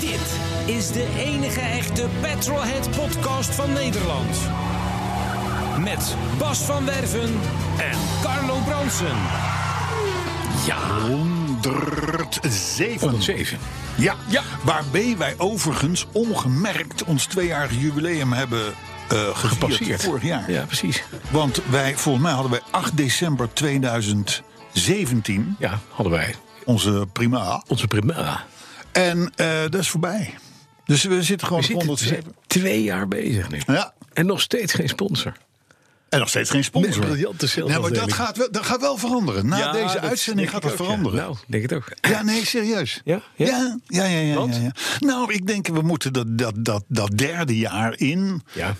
Dit is de enige echte Petrolhead podcast van Nederland. Met Bas van Werven en Carlo Bransen. Ja. 107. 107. Ja. Ja. Waarbij wij overigens ongemerkt ons tweejarig jubileum hebben eh gevierd Gepasseerd. vorig jaar. Ja, precies. Want wij, volgens mij hadden wij 8 december 2017 Ja, hadden wij onze prima. onze prima. En eh, dat is voorbij. Dus we zitten We gewoon op zitten we 107. zijn twee jaar bezig nu. Ja. En nog steeds geen sponsor. En nog steeds geen sponsor. Met briljante nee, maar dat salesafdeling. gaat, wel, dat gaat wel veranderen. Na Ja, deze dat uitzending gaat denk dat ik ook, ja. veranderen. Nou, denk het ook. Ja, nee, serieus. Ja? Ja, Ja? ja, ja. ja, ja, Want? ja. Nou, ik denk we moeten dat, dat, dat, dat derde jaar in Ja,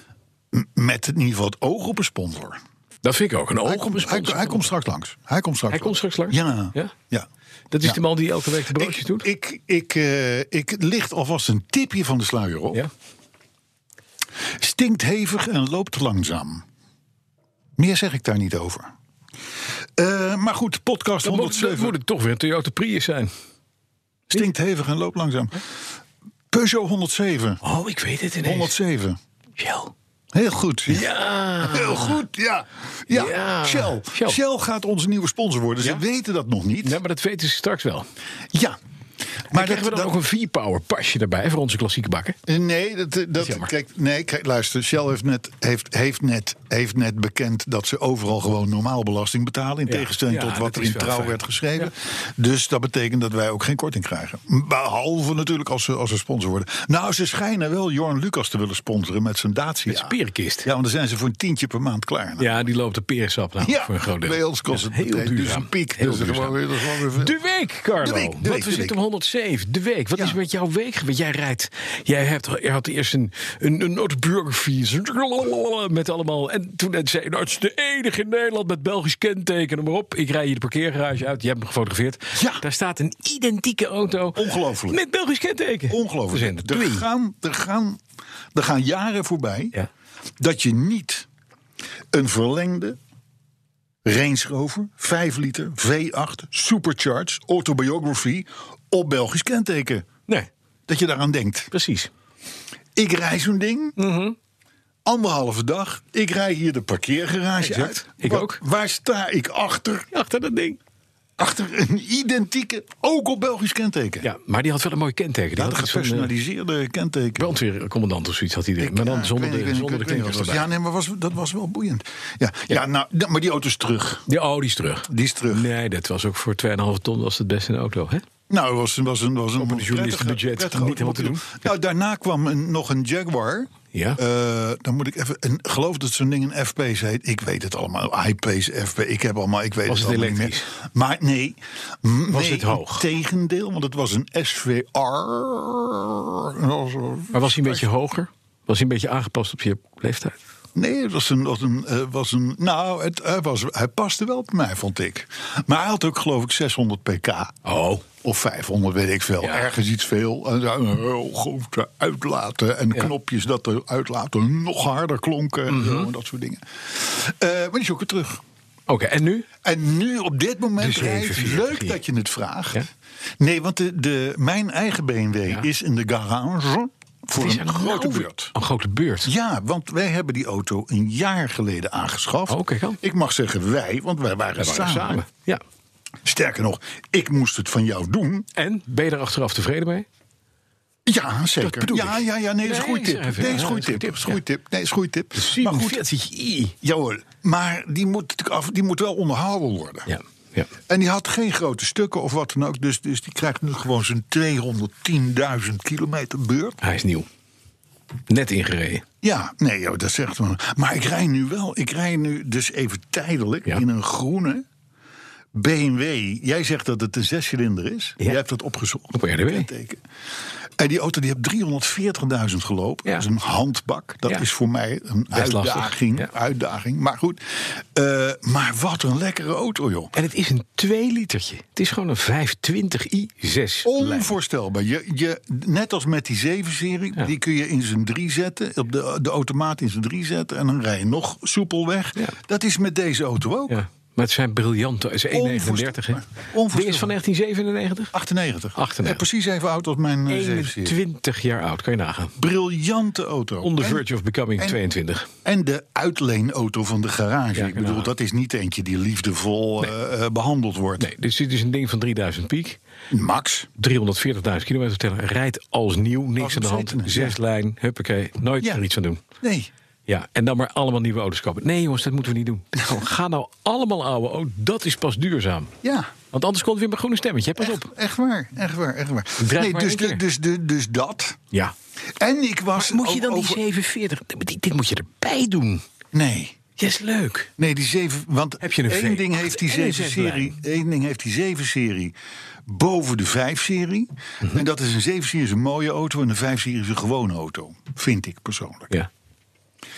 m- met in ieder geval het oog op een sponsor. dat vind ik ook. Een Hij, oog op komt- een hij, sponsor. hij komt straks langs. Hij komt straks Hij komt straks langs? Ja. Ja? ja. Dat is Ja. de man die elke week de broodjes Ik, doet? ik, ik, eh, ik licht alvast een tipje van de sluier op. Ja. Stinkt hevig en loopt langzaam. Meer zeg ik daar niet over. Eh, maar goed, podcast Dan moet, 107. dan moet het toch weer een Toyota Prius zijn. Stinkt hevig en loopt langzaam. Peugeot 107. Oh, ik weet het ineens. 107. Shell. Heel goed. Ja. Heel goed, ja. Ja, Ja. Shell. Shell. Shell. gaat onze nieuwe sponsor worden. Ze Ja? weten dat nog niet. Nee, maar dat weten ze straks wel. Ja. Maar Maar krijgen we dan ook een V-Power pasje erbij voor onze klassieke bakken? Nee, dat, dat, jammer. kijk, nee, kijk, luister. Shell heeft net, heeft, heeft, net, heeft net bekend dat ze overal gewoon normaal belasting betalen. In Ja. tegenstelling Ja, tot wat dat er is in wel trouw fijn. werd geschreven. Dus dat betekent dat wij ook geen korting krijgen. Behalve natuurlijk als ze, als ze sponsor worden. Nou, ze schijnen wel Jorn Lucas te willen sponsoren met zijn Dacia. Met zijn perenkist. Ja, want dan zijn ze voor een tientje per maand klaar. Nou. Ja, die loopt de perensap nou voor een groot deel. bij ons kost Ja, het meteen dus een piek. Heel Dus dat is duurzaam. gewoon weer, dat is gewoon weer veel. De week, Carlo. De week, de Want week, we de zitten week. op 107. De week. Wat Ja. is met jouw week? Want jij rijdt. Jij hebt, je had eerst een, een, een autobiografie. Met allemaal. En toen net zei je, nou, het is de enige in Nederland met Belgisch kenteken. Noem maar op. Ik rij hier de parkeergarage uit. Je hebt me gefotografeerd. Ja. Daar staat een identieke auto. Ongelooflijk. Met Belgisch kenteken. Er zijn Ongelooflijk. er Er twee. gaan, er, gaan, er gaan jaren voorbij Ja. dat je niet een verlengde Range Rover 5 liter V8 Supercharged Autobiography op Belgisch kenteken. Nee, Dat je daaraan denkt. precies. Ik rij zo'n ding. Mhm. Anderhalve dag. Ik rij hier de parkeergarage Exact. uit. Ik Wat- ook. Waar sta ik achter? Achter dat ding. Achter een identieke, ook op Belgisch kenteken. Ja, maar die had wel een mooi kenteken. Die Ja, had Nou, dat echt zo'n, eh, gepersonaliseerde kenteken. brandweercommandant of zoiets had hij. er. maar dan Ja, zonder ik weet de, niet, ik zonder de weet niet, ik weet klinkers niet wat het erbij. was. Ja, nee, maar was, dat was wel boeiend. Ja, ja. nou, d- maar die auto is terug. Ja, oh, die is terug. Die is terug. Nee, dat was ook voor 2,5 ton was het best een auto, hè? Nou, het was, een- was een, was een Op een journalistenbudget niet helemaal te doen. Nou, daarna kwam een, nog een Jaguar. Ja. Eh, dan moet ik even. Een, geloof dat zo'n ding een F-Pace heet. Ik weet het allemaal. High-Pace, F-Pace. Ik heb allemaal. Ik weet Was het, het allemaal niet meer. Maar nee. m- Was nee, het hoog? Tegendeel, want het was een SVR. Maar was hij een beetje hoger? Was hij een beetje aangepast op je leeftijd? Nee, het was een. Was een, eh, was een nou, het, hij, was, hij paste wel op mij, vond ik. Maar hij had ook, geloof ik, 600 pk. Oh. Of 500, weet ik veel. Ja. Ergens iets veel. En dan eh, heel goed uitlaten. En Ja. Mhm. knopjes dat de uitlaten nog harder klonken. En, zo, en dat soort dingen. Eh, maar die is ook weer terug. Oké, en nu? En nu op dit moment De rijdt- 743. leuk dat je het vraagt. Ja? Nee, want de, de, mijn eigen BMW Ja. is in de garage voor Het is een grote oude- beurt. Een grote beurt. Ja, want wij hebben die auto een jaar geleden aangeschaft. Oh, kijk al. Ik mag zeggen wij, want wij waren, We waren samen. samen. Ja. Sterker nog, ik moest het van jou doen. En ben je er achteraf tevreden mee? Ja, zeker. bedoel ja, ik. ja, ja, nee, dat is een Nee, goede tip. zeg even. Nee, dat is Ja, een dat goede is tip. een Dat is een goede tip. Nee, dat is een goede tip. Maar goed, 47i. jawel. Maar die moet, natuurlijk af, die moet wel onderhouden worden. Ja. ja. En die had geen grote stukken of wat dan ook. Dus, dus die krijgt nu gewoon zijn 210.000 kilometer beurt. Hij is nieuw. Net ingereden. Ja, nee, joh, dat zegt wel. Maar ik rij nu wel. Ik rij nu dus even tijdelijk Ja. in een groene BMW, jij zegt dat het een zescilinder is. Ja. Jij hebt dat opgezocht. Op RDW. Kenteken. En die auto die heeft 340.000 gelopen. Ja. Dat is een handbak. Dat Ja. is voor mij een Best lastig. uitdaging, Ja. uitdaging. Maar goed. Eh, maar wat een lekkere auto, joh. En het is een 2 litertje. Het is gewoon een 520i6. Onvoorstelbaar. Je, je, net als met die 7-serie, Ja. die kun je in zijn 3 zetten. Op de, de automaat in zijn 3 zetten. En dan rij je nog soepel weg. Ja. Dat is met deze auto ook. Ja, maar het zijn briljante. Het is 139. hè? Onvoorstelbaar. Die is van 1997? 98. 98. Eh, precies even oud als mijn 7-serie. 21 jaar oud, kan je nagaan. Briljante auto. On the En- verge of becoming en- 22. En de uitleenauto van de garage. Ja, ik bedoel, nou. dat is niet eentje die liefdevol eh, eh, behandeld wordt. Nee, dus dit is een ding van 3000 piek. Max. 340.000 kilometer tellen. Rijdt als nieuw, niks Als aan de hand. ontzettend, Zes lijn, huppakee. Nooit Ja. er iets aan doen. Nee. Ja, en dan maar allemaal nieuwe auto's kopen. Nee jongens, dat moeten we niet doen. Gewoon, Ga nou allemaal oude auto's. Dat is pas duurzaam. Ja. Want anders komt het weer mijn groene stemmetje. hè? Pas Echt, op. echt waar, echt waar, echt waar. Draag Nee, maar dus, één de- keer. dus, de- dus dat. Ja. En ik was. Moet je dan die over- 740? Dit, dit moet je erbij doen. Nee. Ja, is leuk. Nee, die zeven. Want Heb je een één V8 ding heeft die en een zeven serie. één ding heeft die zeven serie boven de vijf serie. Mhm. En dat is een zeven serie is een mooie auto en een vijf serie is een gewone auto. Vind ik persoonlijk. Ja.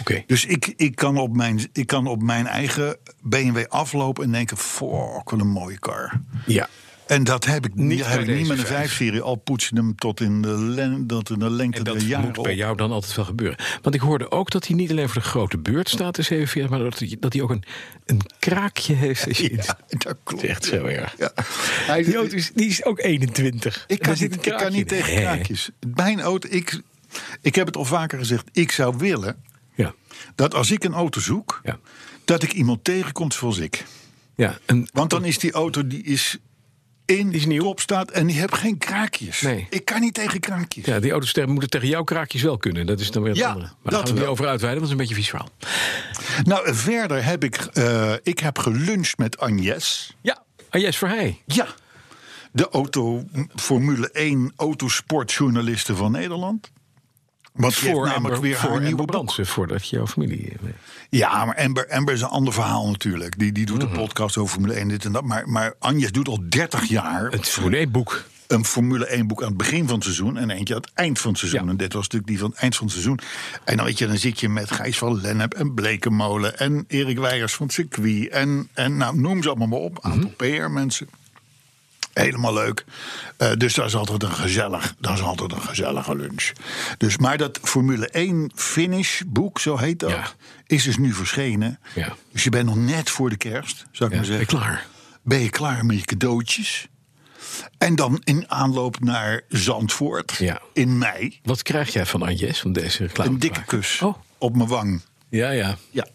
Oké. Dus ik, ik, kan op mijn, ik kan op mijn eigen BMW aflopen en denken: fuck, wat een mooie car. Ja. En dat heb ik Niet niet, bij heb ik deze niet met een vijf. 5-serie, al poetsen hem tot in de, len, dat in de lengte En dat der jaren. moet bij op. jou dan altijd wel gebeuren. Want ik hoorde ook dat hij niet alleen voor de grote beurt staat, de 47, maar dat hij, dat hij ook een, een kraakje heeft. Als je iets- Ja, dat Het klopt. is echt zo erg. Ja. Hij- Die auto is, die is ook 21. Ik Daar kan, zit een niet, ik kan kraakje niet in. tegen Nee. kraakjes. Mijn auto, ik, ik heb het al vaker gezegd. Ik zou willen Ja. dat als ik een auto zoek, Ja. dat ik iemand tegenkomt zoals ik. ja een, Want dan is die auto die is in Die is nieuw. top staat en die heeft geen kraakjes. Nee. Ik kan niet tegen kraakjes. ja, die auto's tegen- moeten tegen jouw kraakjes wel kunnen. Dat is dan weer het Ja, andere. Maar dat daar gaan we niet wel. over uitweiden, want het is een beetje vies verhaal. Nou, verder heb ik, eh, ik heb geluncht met Agnes. Ja, ah, yes, voor hij. Ja. De auto, Formule 1 autosportjournalisten van Nederland. Want die heeft Voor namelijk Amber, weer voor haar Amber nieuwe boek. Brandsen, voordat jouw familie... eh, Ja, maar Amber, Amber is een ander verhaal natuurlijk. Die, die doet Mhm. een podcast over Formule 1 dit en dat. Maar, maar Agnes doet al 30 jaar Het Formule boek een Formule 1 boek aan het begin van het seizoen en eentje aan het eind van het seizoen. Ja. En dit was natuurlijk die van het eind van het seizoen. En dan weet je, dan zit je met Gijs van Lennep en Blekenmolen en Erik Weijers van het circuit. En, en nou, noem ze allemaal maar op. Mhm. Een aantal PR-mensen. Helemaal leuk. Eh, dus dat is altijd een gezellig, dat is altijd een gezellige lunch. Dus, maar dat Formule 1 finish boek, zo heet dat, Ja. is dus nu verschenen. Ja. Dus je bent nog net voor de kerst, zou ik Ja, maar ben je zeggen. klaar? Ben je klaar met je cadeautjes? En dan in aanloop naar Zandvoort Ja. in mei. Wat krijg jij van Agnes, van deze reclame? Een dikke kus Oh, op mijn wang. ja, ja. Ja.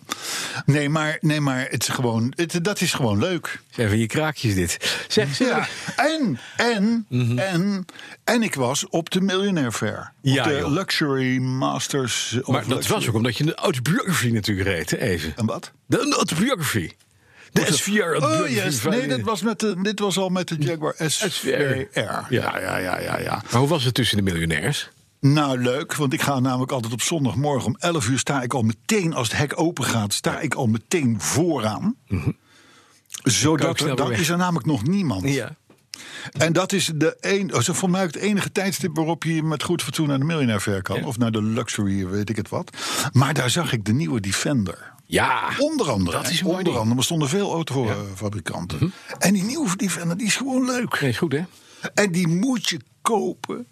Nee, maar, nee, maar het is gewoon, het, dat is gewoon leuk. Zeg van je kraakjes dit. Zeg ze. Ja. En, en, Mhm. en, en ik was op de Millionaire Fair. Op Ja, de joh. Luxury Masters. of Maar dat Luxury- was ook omdat je een autobiography natuurlijk reed, hè, even. En wat? De een autobiography. De S4 Oh autobiography yes, van- nee, dat was met de, dit was al met de Jaguar SVR. Ja, ja, ja, ja, ja. Maar hoe was het tussen de miljonairs? Nou, leuk, want ik ga namelijk altijd op zondagmorgen om 11 uur sta ik al meteen, als het hek open gaat, sta ik al meteen vooraan. Kan Mhm. ook Zodat snel er, weer dan weg. is er namelijk nog niemand. En dat is de een, oh, zo volgens mij ook het enige tijdstip waarop je met goed fatsoen naar de miljonair ver kan. Ja. Of naar de luxury, weet ik het wat. Maar daar zag ik de nieuwe Defender. Ja. Onder andere. Ah, Dat is een mooi onder ding. Mhm. andere, maar er stonden veel autofabrikanten. En die nieuwe Defender die is gewoon leuk. Nee, is goed, hè? En die moet je kopen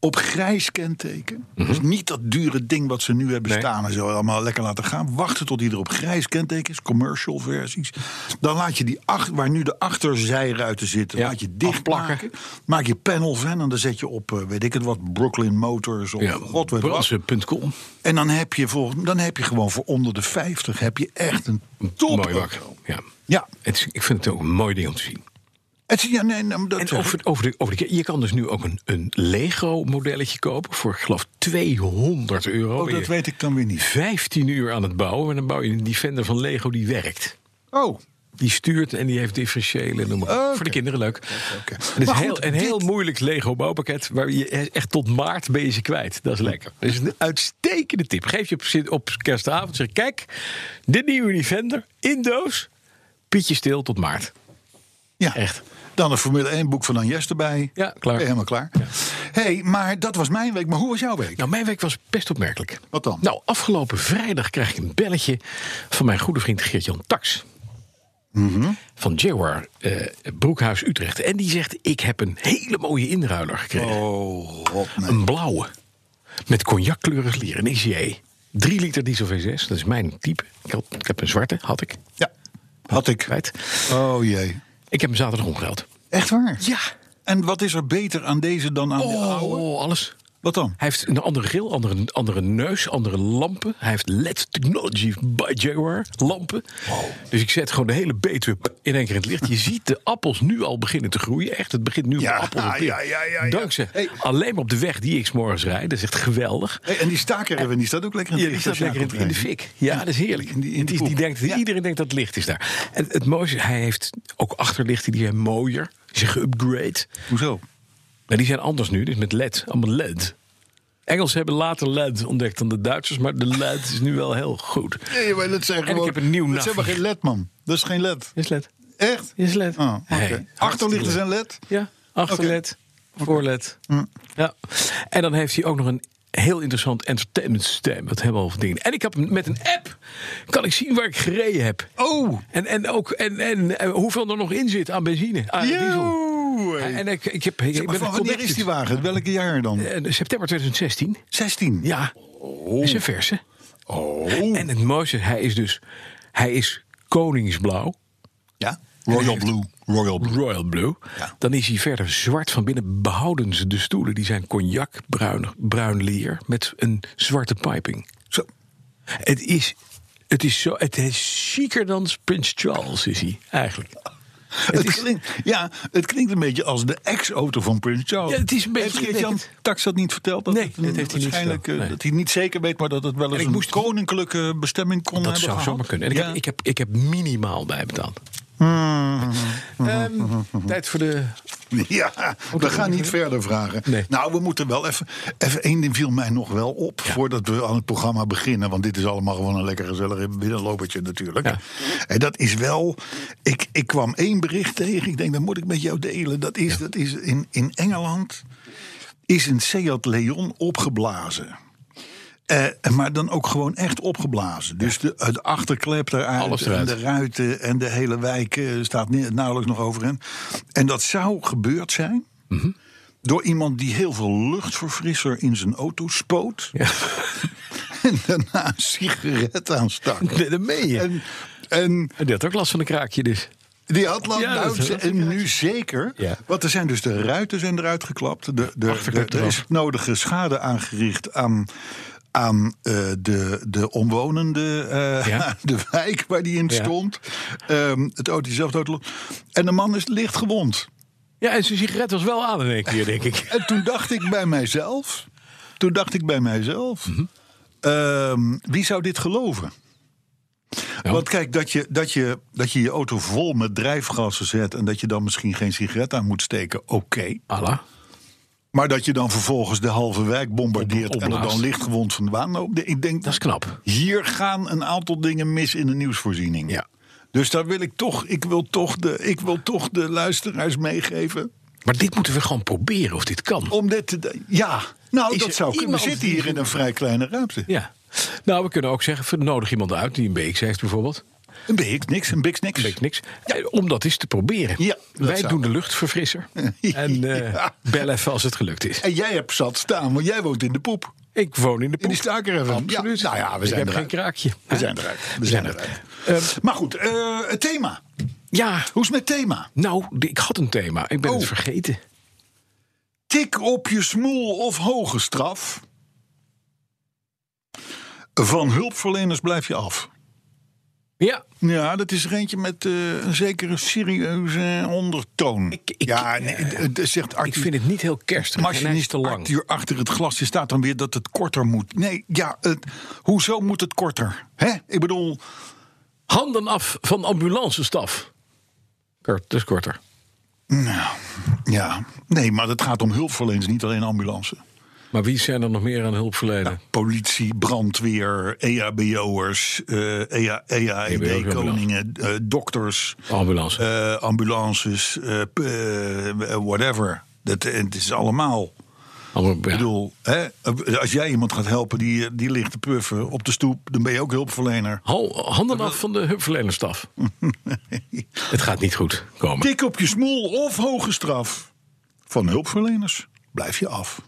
op grijs kenteken. Dus niet dat dure ding wat ze nu hebben Mhm. Nee. staan en zo allemaal lekker laten gaan. Wachten tot die er op grijs kenteken is, commercial versies. Dan laat je die achter, waar nu de achterzijruiten zitten, Ja, laat je dicht afplakken. plakken. Maak je panel van en dan zet je op, eh, weet ik het wat, Brooklyn Motors of Ja, god weet wat. Brandsen.com. En dan heb, je vol, dan heb je gewoon voor onder de 50 heb je echt een top. Mooi bak. Ja. Ja. Het is- ik vind het ook een mooi ding om te zien. Het, is- ja, nee, nou, dat En zeg over, ik. over de, over de, je kan dus nu ook een, een Lego-modelletje kopen voor, ik geloof, 200 euro. oh, Ben dat je weet ik dan weer niet. 15 uur aan het bouwen en dan bouw je een Defender van Lego die werkt. Oh, Die stuurt en die heeft differentiële noem maar op. Oké. Voor de kinderen leuk. oké. Het is Maar heel, goed, een heel dit- moeilijk Lego bouwpakket. Waar je e- echt tot maart ben je ze kwijt. Dat is lekker. Dat is een uitstekende tip. Geef je op, zin- op kerstavond. Zeg kijk, de nieuwe Defender in doos. Pietje stil tot maart. Ja. Echt. Dan een Formule 1 boek van Agnes erbij. Ja, klaar. Ben je helemaal klaar. hey, maar dat was mijn week. Maar hoe was jouw week? Nou, mijn week was best opmerkelijk. Wat dan? Nou, afgelopen vrijdag kreeg ik een belletje van mijn goede vriend Geert-Jan Tax. Mhm. Van Jaguar eh, Broekhuis Utrecht. En die zegt, ik heb een hele mooie inruiler gekregen. Oh, god, nee. Nou. Een blauwe. Met cognackleurig lier. Een ICA. 3 liter diesel V6. Dat is mijn type. Ik, had- ik heb een zwarte, had ik. Ja, had ik. Kwijt. Oh jee. Ik heb hem zaterdag omgehaald. Echt waar? Ja. En wat is er beter aan deze dan aan de oude? Oh, alles. Wat dan? Hij heeft een andere grill, andere, andere neus, andere lampen. Hij heeft LED Technology by Jaguar lampen. Dus ik zet gewoon de hele betuwe in één keer in het licht. Je ziet de appels nu al beginnen te groeien. Echt, het begint nu Ja, op appels. en ja, peren. ja, ja, ja. Dankzij Hey. alleen maar op de weg die ik 's morgens rijd. Dat is echt geweldig. Hey, en die staker die staat ook lekker in Ja, het die licht staat als lekker in, in Jacob de rijdt. fik. Ja, dat is heerlijk. In die- in Het die is- die poep. denkt, Ja. Iedereen denkt dat het licht is daar. En het mooiste, is, hij heeft ook achterlichten die zijn mooier. Die zijn geüpgrade. Hoezo? Nou, die zijn anders nu, dus met LED. Allemaal LED. Engelsen hebben later LED ontdekt dan de Duitsers, maar de LED is nu wel heel goed. Nee, maar dat zijn En ik gewoon... heb een nieuw Dat is helemaal nachtlicht. geen led, man. Dat is geen led. Is LED? Echt? Is LED? Oh, oké. Hey, Achterlichten zijn led? Ja, achter Oké. Hm. LED, voor LED. Ja. En dan heeft hij ook nog een heel interessant entertainment systeem. Dat hebben we al dingen. En ik heb hem met een app kan ik zien waar ik gereden heb. Oh! En, en ook en, en, eh, hoeveel er nog in zit aan benzine, aan diesel. Yo! En, en ik, ik heb, ik, Zeg ben maar, van wanneer is connected. die wagen? Welke jaar dan? Eh, September 2016. 16. Ja, dat is een verse. Oh. En het mooiste, hij is dus, hij is koningsblauw, Ja? Royal Blue. Royal Blue. royal blue. Ja. Dan is hij verder zwart van binnen, behouden ze de stoelen. Die zijn cognac, bruin, bruin leer, met een zwarte piping. Zo. Het is, het is zo, het is chiquer dan Prins Charles is hij, eigenlijk. Het klinkt, ja, het klinkt een beetje als de ex-auto van Prince Charles. Ja, het is een beetje- Heeft Geert-Jan ik- Tax dat niet verteld? Dat Nee, het een- dat heeft hij niet waarschijnlijk, verteld, eh, nee. Dat hij niet zeker weet, maar dat het wel eens ik een moest- koninklijke bestemming kon Dat hebben zou gehad. zomaar kunnen. En ik, Ja. heb, ik, heb, ik heb minimaal bijbetaald. Hmm. Ehm, tijd voor de Ja, we dat gaan is niet verder vragen. Nee. Nou, we moeten wel even... Even één ding viel mij nog wel op voordat we aan het programma beginnen. Want dit is allemaal gewoon een lekker gezellig binnenlopertje natuurlijk. Ja. En dat is wel... Ik, ik kwam één bericht tegen. Ik denk, dat moet ik met jou delen. Dat is, dat is in, in Engeland is een Seat Leon opgeblazen. Eh, maar dan ook gewoon echt opgeblazen. Dus de, de achterklep eruit, Alles en eruit. de ruiten en de hele wijk eh, staat ni- nauwelijks nog over hem. En dat zou gebeurd zijn Mhm. door iemand die heel veel luchtverfrisser in zijn auto spoot. en daarna een sigaret aanstak. Nee, dat meen je. En, en Die had ook last van een kraakje dus. die had lang Ja, dat is wel en nu zeker. Ja. Want er zijn dus de ruiten zijn eruit geklapt. De, de, de, Achterklep er is eraf. nodige schade aangericht aan, aan eh, de, de omwonenden. eh, Ja. De wijk waar die in Ja. stond. Ehm, het auto zelf dood. En de man is licht gewond. Ja, en zijn sigaret was wel aan in één keer, denk ik. En toen dacht ik bij mijzelf. Toen dacht ik bij mijzelf. Mhm. ehm, wie zou dit geloven? Ja. Want kijk, dat je, dat, je, dat je je auto vol met drijfgassen zet. en dat je dan misschien geen sigaret aan moet steken, oké. Allah. Maar dat je dan vervolgens de halve wijk Op- bombardeert. en er dan opblaast. lichtgewond van de baan loopt. Ik denk, Dat is knap. hier gaan een aantal dingen mis in de nieuwsvoorziening. Ja. Dus daar wil ik toch, ik wil toch, de, ik wil toch de luisteraars meegeven. Maar dit moeten we gewoon proberen of dit kan. Om dit te. Ja, nou, Is dat er zou kunnen. We iemand zitten die- hier in een vrij kleine ruimte. Ja. Nou, we kunnen ook zeggen, nodig iemand uit die een BX heeft bijvoorbeeld. Een BX niks, een BX niks. Weet niks. Eh, Om dat eens te proberen. Ja, dat Wij zou- doen de luchtverfrisser. En eh Ja. bel even als het gelukt is. En jij hebt zat staan, want jij woont in de poep. Ik woon in de In poep. die staker even. Absoluut. Ja, nou ja, we Ik zijn heb geen eruit. kraakje. We Hè? zijn eruit. We zijn eruit. Ehm, maar goed, eh, het thema. Ja, Hoe is het met thema? nou, ik had een thema. Ik ben Oh. het vergeten. Tik op je smoel of hoge straf. Van hulpverleners blijf je af. Ja, Ja, dat is er eentje met eh, een zekere serieuze ondertoon. Ik- ik- ja, nee, het- het zegt ik Arthur vind het niet heel kerstig. Maar als en je hij is niet te lang. Arthur achter het glasje staat dan weer dat het korter moet. Nee, ja, het, hoezo moet het korter? Hè? Ik bedoel, Handen af van ambulancestaf. Kort, dus korter. nou, ja. Nee, maar het gaat om hulpverleners, niet alleen ambulances. Maar wie zijn er nog meer aan hulp verleden? Politie, brandweer, E EHBO'ers, eh EA, EHBO's, EHEB-koningen, eh, dokters, Ambulance. eh, ambulances, eh, p- eh, whatever. Dat, eh, het is allemaal. Allemaal- ja. Ik bedoel, hè, als jij iemand gaat helpen die, eh, die ligt te puffen op de stoep, dan ben je ook hulpverlener. Hou- Handen af van de hulpverlenerstaf. Het gaat niet goed komen. Tik op je smoel of hoge straf. Van hulpverleners blijf je af.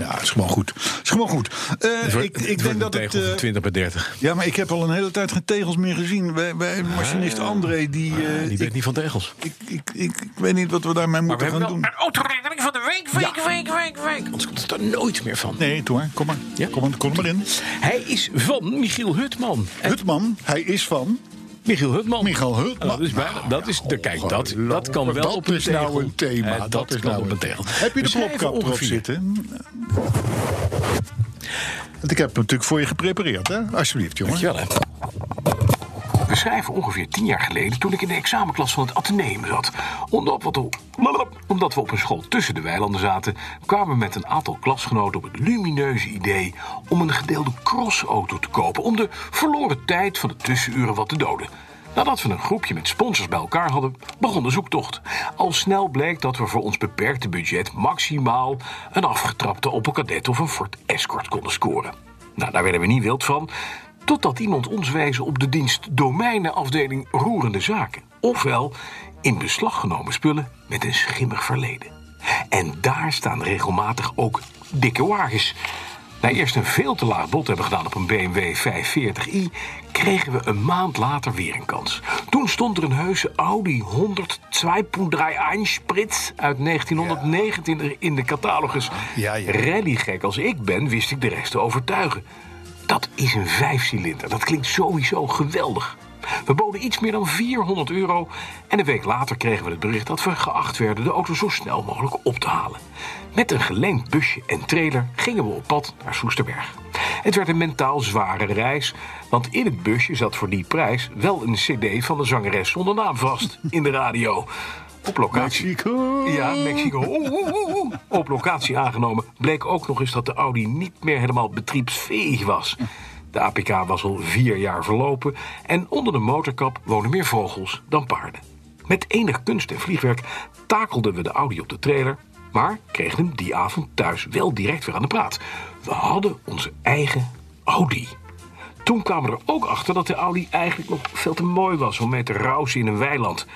Ja, is gewoon goed. Is gewoon goed. Eh, Het wordt- ik het wordt ik denk een dat het. tegel van eh, 20 bij 30. ja, maar ik heb al een hele tijd geen tegels meer gezien. Wij, wij machinist André, die. eh, Die ik, weet niet van tegels. ik, ik, ik, ik weet niet wat we daarmee moeten gaan doen. autorekening van de week, week, week, week, week. Anders komt het er nooit meer van. Nee, toe maar. Kom maar. Ja? Kom, maar, kom er maar in. Hij is van Michiel Hutman. En Hutman, hij is van. Michiel Hutman. Michael Hutman. Nou, dat is bijna, dat is, de, kijk, dat, dat kan wel dat op een is tegel. nou een thema. Eh, dat, dat, is kan nou op een een tegel. Heb je de Dus hij plopkap heeft erop ongeveer- zitten? Want ik heb het natuurlijk voor je geprepareerd, hè? Alsjeblieft, jongen. Dankjewel, hè. We schrijven ongeveer tien jaar geleden toen ik in de examenklas van het Atheneum zat. Omdat, wat op- omdat we op een school tussen de weilanden zaten, kwamen we met een aantal klasgenoten op het lumineuze idee om een gedeelde crossauto te kopen. Om de verloren tijd van de tussenuren wat te doden. Nadat we een groepje met sponsors bij elkaar hadden, begon de zoektocht. Al snel bleek dat we voor ons beperkte budget maximaal een afgetrapte Opel Kadett of een Ford Escort konden scoren. Nou, daar werden we niet wild van. Totdat iemand ons wees op de dienst domeinenafdeling roerende zaken. Ofwel in beslag genomen spullen met een schimmig verleden. En daar staan regelmatig ook dikke wagens. Na eerst een veel te laag bod hebben gedaan op een BMW 540i, kregen we een maand later weer een kans. Toen stond er een heuse Audi 102.3 Spritz uit 1919 in de catalogus. Ja, ja. Rallygek als ik ben, wist ik de rest te overtuigen. Dat is een vijfcilinder. Dat klinkt sowieso geweldig. We boden iets meer dan 400 euro en een week later kregen we het bericht dat we geacht werden de auto zo snel mogelijk op te halen. Met een geleend busje en trailer gingen we op pad naar Soesterberg. Het werd een mentaal zware reis, want in het busje zat voor die prijs wel een CD van de zangeres zonder naam vast in de radio. Op locatie. Mexico. Ja, Mexico. Oeh, oeh, oeh, oeh. Op locatie aangenomen bleek ook nog eens dat de Audi niet meer helemaal betriebsfähig was. De APK was al vier jaar verlopen en onder de motorkap wonen meer vogels dan paarden. Met enig kunst en vliegwerk takelden we de Audi op de trailer, maar kregen hem die avond thuis wel direct weer aan de praat. We hadden onze eigen Audi. Toen kwamen we er ook achter dat de Audi eigenlijk nog veel te mooi was om mee te rousen in een weiland.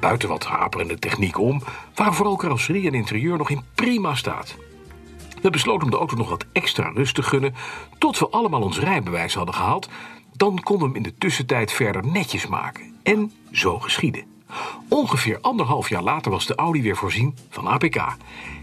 Buiten wat haperende techniek om, waren vooral carrosserie en interieur nog in prima staat. We besloten om de auto nog wat extra rust te gunnen, tot we allemaal ons rijbewijs hadden gehaald. Dan konden we hem in de tussentijd verder netjes maken. En zo geschiedde. Ongeveer anderhalf jaar later was de Audi weer voorzien van APK.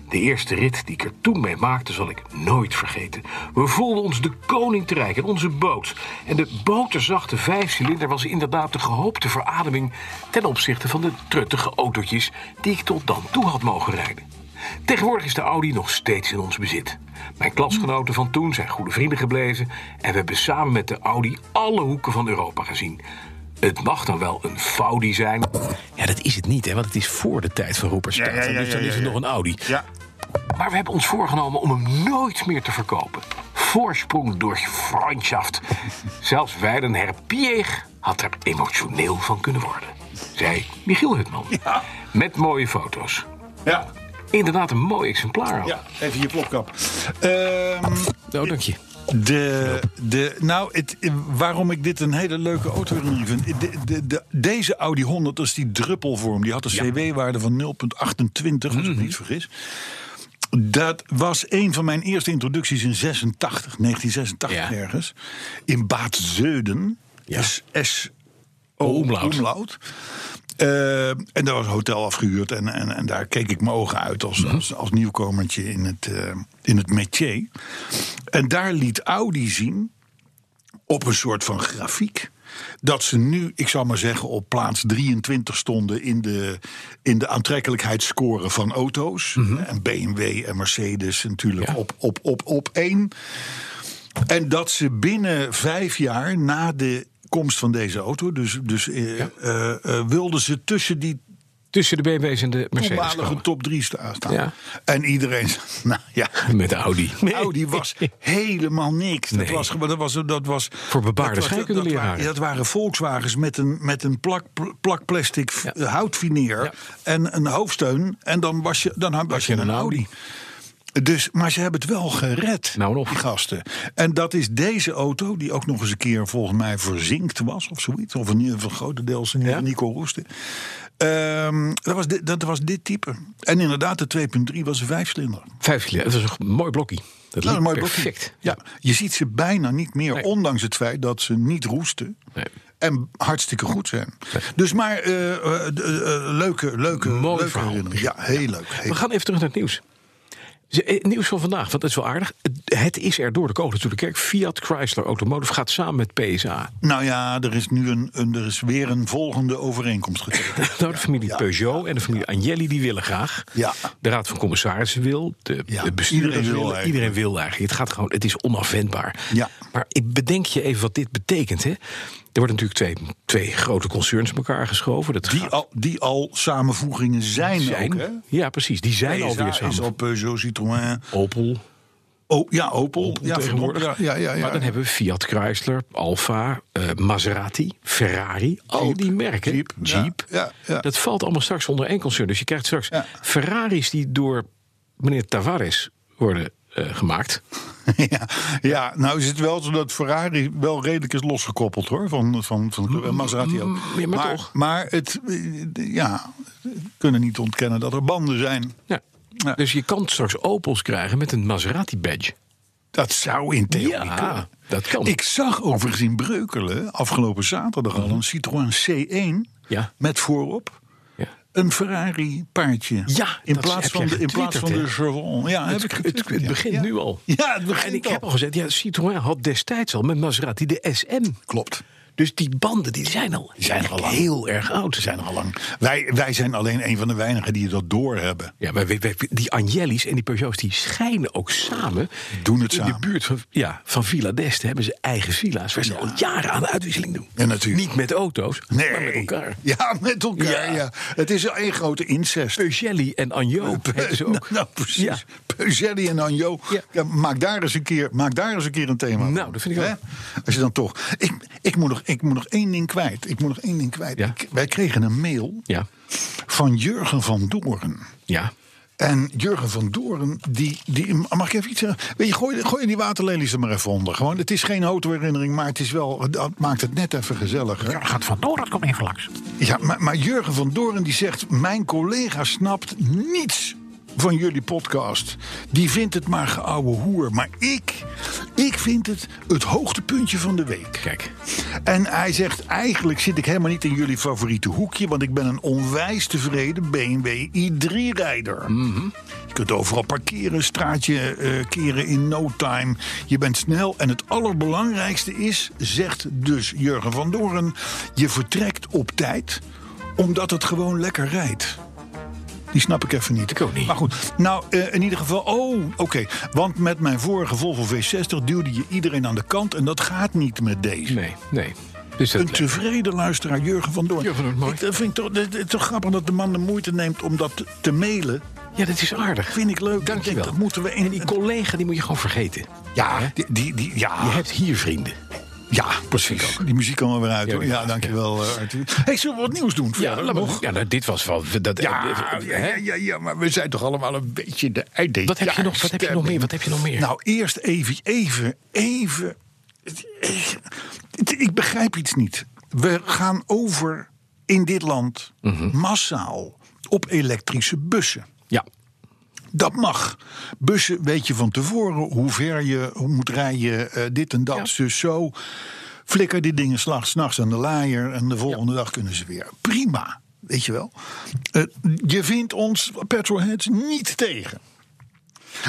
De eerste rit die ik er toen mee maakte, zal ik nooit vergeten. We voelden ons de koning te rijk in onze boot. En de boterzachte vijfcilinder was inderdaad de gehoopte verademing ten opzichte van de truttige autootjes die ik tot dan toe had mogen rijden. Tegenwoordig is de Audi nog steeds in ons bezit. Mijn klasgenoten van toen zijn goede vrienden gebleven en we hebben samen met de Audi alle hoeken van Europa gezien. Het mag dan wel een Faudi zijn. Ja, dat is het niet, hè, want het is voor de tijd van Roeperstaat. Ja, ja, ja, dus dan ja, is het ja, nog een Audi. Ja. Maar we hebben ons voorgenomen om hem nooit meer te verkopen. Voorsprong door Freundschaft. Zelfs Weiden Herpier had er emotioneel van kunnen worden. Zei Michiel Hutman. Met mooie foto's. ja. Inderdaad, een mooi exemplaar. ook. Ja, even je plopkap. Ehm, Oh, dank je. de, de, nou, het, waarom ik dit een hele leuke auto vind. De, de, de, deze Audi 100, dat is die druppelvorm. Die had een CW-waarde van 0,28, als Mhm. ik me niet vergis. Dat was een van mijn eerste introducties in 86, 1986 Ja. ergens. In Baat-Zeuden. Ja. S, S Oh, Umlaut. Oh, Umlaut. Eh, en daar was een hotel afgehuurd. En, en, en daar keek ik mijn ogen uit als, Mhm. als, als nieuwkomertje in het, eh, in het métier. En daar liet Audi zien, op een soort van grafiek... dat ze nu, ik zou maar zeggen, op plaats 23 stonden... in de, in de aantrekkelijkheidsscore van auto's. En BMW en Mercedes natuurlijk Mhm. Ja. op, op, op, op één. En dat ze binnen vijf jaar na de komst van deze auto, dus, dus eh, eh, eh, wilden ze tussen die Tussen de BMW's en de Mercedes. Voormalige komen. top 3 staan. Ja. En iedereen. Nou ja. Met de Audi. Audi Nou, was helemaal niks. Dat Nee. was, gewoon- dat was, dat was Voor bebaarde dat was- dat- dat scheikundeleraren. waren- Dat waren Volkswagens met een, met een plak, plak plastic v- Ja. houtfineer Ja. en een hoofdsteun. En dan was je, dan was je een Audi. Dus, maar ze hebben het wel gered, Nou nog. die gasten. En dat is deze auto, die ook nog eens een keer volgens mij verzinkt was of zoiets. Of in ieder geval grotendeels in Ja? Nico Roesten. Ehm, dat, was dit, dat was dit type. En inderdaad, de 2.3 was een vijfcilinder. Vijf kilo. Dat is een mooi blokkie. Dat Nou, liep een mooi blokje. perfect. Ja. Je ziet ze bijna niet meer, Nee. ondanks het feit dat ze niet roesten. Nee. En hartstikke goed zijn. Dus maar eh, eh, d- eh, leuke, leuke, Mooi leuke verhaal. herinnering. Ja, heel leuk. heel We gaan even terug naar het nieuws. Z- eh, Nieuws van vandaag, want dat is wel aardig. Het- Het is er door de kogel toe de kerk. Fiat Chrysler Automotive gaat samen met PSA. leuk. Nou ja, er is nu een, een, er is weer een volgende overeenkomst getekend. Nou, de familie Peugeot en de familie Agnelli die willen graag. Ja. De raad van commissarissen wil. De, Ja, de bestuurders iedereen wil willen, eigenlijk. Iedereen wil eigenlijk. Het gaat gewoon. Het is onafwendbaar. Ja. Maar ik bedenk je even wat dit betekent. Hè? Er worden natuurlijk twee, twee grote concerns bij elkaar geschoven. Dat Die gaat- al, die al samenvoegingen zijn, zijn. ook, hè? ja, precies. Die zijn PSA alweer is samen. al Peugeot, Citroën. Opel. Oh, ja, Opel. ja, ja, tegenwoordig. verdomd, Ja, ja, ja, ja. Maar dan hebben we Fiat Chrysler, Alfa, eh, Maserati, Ferrari. al Jeep, die merken. Jeep, ja, ja, ja. Dat valt allemaal straks onder één concern. Dus je krijgt straks Ja. Ferraris die door meneer Tavares worden eh, gemaakt. Ja, ja, nou is het wel zo dat Ferrari wel redelijk is losgekoppeld hoor. Van, van, van en Maserati ook. Mm, ja, maar toch. maar het, eh, ja, we kunnen niet ontkennen dat er banden zijn. Ja. Ja. Dus je kan straks Opels krijgen met een Maserati-badge. Dat zou in theorie Ja, kunnen. dat kan. Ik zag overigens in Breukelen afgelopen zaterdag al een Citroën C1 Mhm. Ja. met voorop. Ja. Een Ferrari paardje. Ja, in dat plaats heb van jij de, in plaats van de getwitterd, Chevron. Ja, Ah, heb ik Het, het, getwitterd, het ja. begint Ja. nu al. Ja, het begint en ik al. heb al gezegd, ja, Citroën had destijds al met Maserati de SM. Klopt. Dus die banden die zijn al, zijn al lang. heel erg oud. Ze zijn er al lang. Wij, wij zijn alleen een van de weinigen die dat doorhebben. Ja, maar we- we- die Agnelli's en die Peugeots die schijnen ook samen. Doen het in samen. de buurt van, ja, van Villa d'Este hebben ze eigen villa's. Waar ze al jaren aan uitwisseling doen. Ja, natuurlijk. Niet met auto's, Nee. maar met elkaar. Ja, met elkaar. Ja. Ja. Het is één grote incest. Peugelli en Agno hebben ze ook. Nou, nou, precies. Ja. Peugeot en Anjo. Ja. Ja. maak, daar eens een keer, maak daar eens een keer een thema van. Nou, dat vind ik Hè? ook. Als je dan toch... Ik, ik, moet nog, ik moet nog één ding kwijt. Ik moet nog één ding kwijt. Ja. Ik- wij kregen een mail Ja, van Jurgen van Doorn. ja. En Jurgen van Doorn, die, die, mag ik even iets zeggen? Weet je, gooi, gooi die waterlelies er maar even onder. Gewoon, het is geen autoherinnering, maar het, is wel, het maakt het net even gezelliger. Gaat van door, dat komt even langs. Ja, maar, maar Jurgen van Doorn die zegt: Mijn collega snapt niets van jullie podcast. Die vindt het maar geouwe hoer. Maar ik, ik vind het het hoogtepuntje van de week. Kijk. En hij zegt: Eigenlijk zit ik helemaal niet in jullie favoriete hoekje, want ik ben een onwijs tevreden BMW i3-rijder. Mhm. Je kunt overal parkeren, straatje eh, keren in no time. Je bent snel en het allerbelangrijkste is, zegt dus Jurgen van Doorn, je vertrekt op tijd omdat het gewoon lekker rijdt. Die snap ik even niet. Ik ook niet. Maar goed, nou eh, in ieder geval. Oh, oké. Want met mijn vorige Volvo V60 duwde je iedereen aan de kant. En dat gaat niet met deze. Nee, nee. Dus dat Een tevreden luisteraar, Jurgen van Doorn. Jurgen van Doorn, mooi. Ik, dat vind ik toch, dat, dat is toch grappig dat de man de moeite neemt om dat te- te mailen. ja, dat is aardig. Vind ik leuk. Dank Ik je denk, wel. Dat moeten we En in die collega die moet je gewoon vergeten. Ja, die, die, die- ja. Je hebt hier vrienden. ja, precies. Die muziek kan er weer uit. Ja, hoor. die- Ja, dankjewel, eh, Arthur. Hey, zullen we wat nieuws doen? verder laat maar- nog? ja nou, dit was wel... Dat, Ja, eh, ja, hè? ja, ja, ja, maar we zijn toch allemaal een beetje de uitdaging. Wat heb je nog- wat heb je nog meer? Wat heb je nog meer? Nou, eerst even, even, even. het- het- Ik begrijp iets niet. We gaan over in dit land Mhm. massaal op elektrische bussen. ja. Dat mag. Bussen weet je van tevoren hoe ver je moet rijden, eh, dit en dat, zus, zo. Flikker die dingen slag, s'nachts aan de laaier en de volgende dag kunnen ze weer. Prima, weet je wel. Eh, je vindt ons petrolheads niet tegen.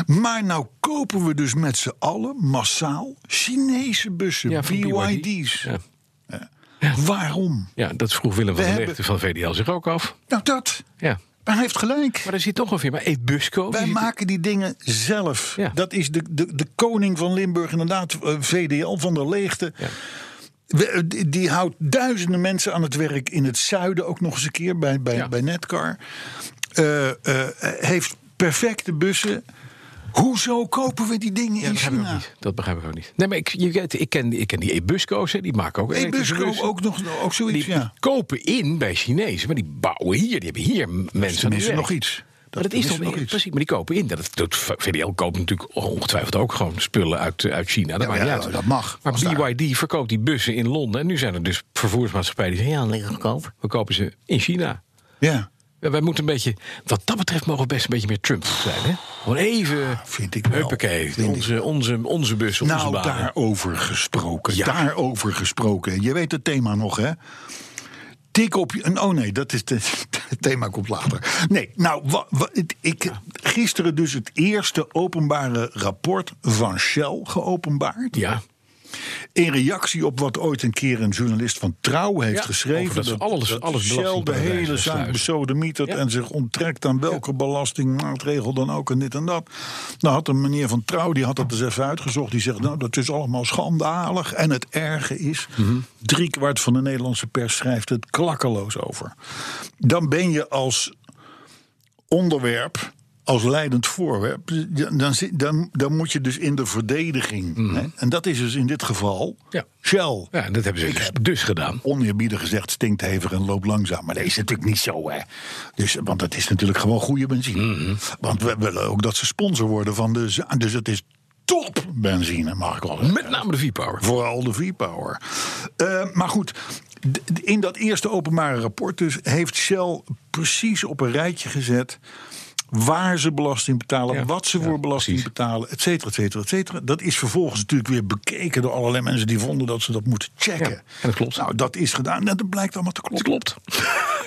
Maar nou kopen we dus met z'n allen massaal Chinese bussen, Ja, van BYD. BYD's. Ja. Waarom? Ja, dat vroeg Willem van der We hebben- Leegte van VDL zich ook af. Nou dat, Ja. hij heeft gelijk. Maar er zit toch een firma, Eet Busco. Wij die zit- maken die dingen zelf. Ja. Dat is de, de, de koning van Limburg, inderdaad, eh, VDL van der Leegte. Ja. we- die- die houdt duizenden mensen aan het werk in het zuiden ook nog eens een keer bij, bij, Ja. bij Netcar. Eh, eh, heeft perfecte bussen. Hoezo kopen we die dingen in dat begrijp ik ook China? niet. Dat begrijp ik ook niet. Nee, maar ik, je weet, ik, ken, ik ken die e-busco's, hè, die maken ook elektrische E-busco bussen. ook nog ook zoiets, Die ja. kopen in bij Chinezen, maar die bouwen hier. Die hebben hier mensen aan het Tenminste werk. nog iets. maar dat is toch tenminste nog iets. precies, maar die kopen in. Dat, dat, VDL koopt natuurlijk ongetwijfeld ook gewoon spullen uit, eh, uit China. Dat, Ja, maakt niet ja, uit. dat mag. Maar Als daar- BYD verkoopt die bussen in Londen. En nu zijn er dus vervoersmaatschappijen die zeggen: ja, lekker goedkoop. We kopen ze in China. Ja, Ja, Wij moeten een beetje, wat dat betreft, mogen we best een beetje meer Trump zijn. Hè? Gewoon even. vind ik wel. Huppakee, Vind ik. onze, onze, onze bus, onze Nou, banen. daarover gesproken. Ja. Daarover gesproken. Je weet het thema nog, hè? Tik op je. Oh nee, dat is. Het het thema komt later. Nee, nou, wa- wa- het- ik, gisteren dus het eerste openbare rapport van Shell geopenbaard. Ja, In reactie op wat ooit een keer een journalist van Trouw heeft Ja, geschreven. over dat ze alles- alles Shell de belastingparadijs hele zaak wegsluizen. besodemietert Ja. en zich onttrekt aan welke belastingmaatregel dan ook en dit en dat. Nou had een meneer van Trouw, die had dat eens even uitgezocht. Die zegt, nou dat is allemaal schandalig. En het erge is, Mhm. driekwart van de Nederlandse pers schrijft het klakkeloos over. Dan ben je als onderwerp als leidend voorwerp, dan, zit- dan, dan moet je dus in de verdediging. Hè? En dat is dus in dit geval Mhm. Ja. Shell. ja en dat hebben ze dus, dus gedaan. Oneerbiedig gezegd, stinkt hevig en loopt langzaam. Maar dat is natuurlijk niet zo, hè. Dus, want dat is natuurlijk gewoon goede benzine. Mhm. Want we willen ook dat ze sponsor worden van de... za- Dus het is top benzine, mag ik wel zeggen. Met name de V-Power. Vooral de V-Power. Eh, maar goed, d- d- in dat eerste openbare rapport dus heeft Shell precies op een rijtje gezet. Waar ze belasting betalen, Ja, wat ze ja, voor belasting precies. betalen, et cetera, et cetera, et cetera. Dat is vervolgens natuurlijk weer bekeken door allerlei mensen die vonden dat ze dat moeten checken. Ja, en dat klopt. Nou, dat is gedaan. En dat blijkt allemaal te Dat kloppen. klopt.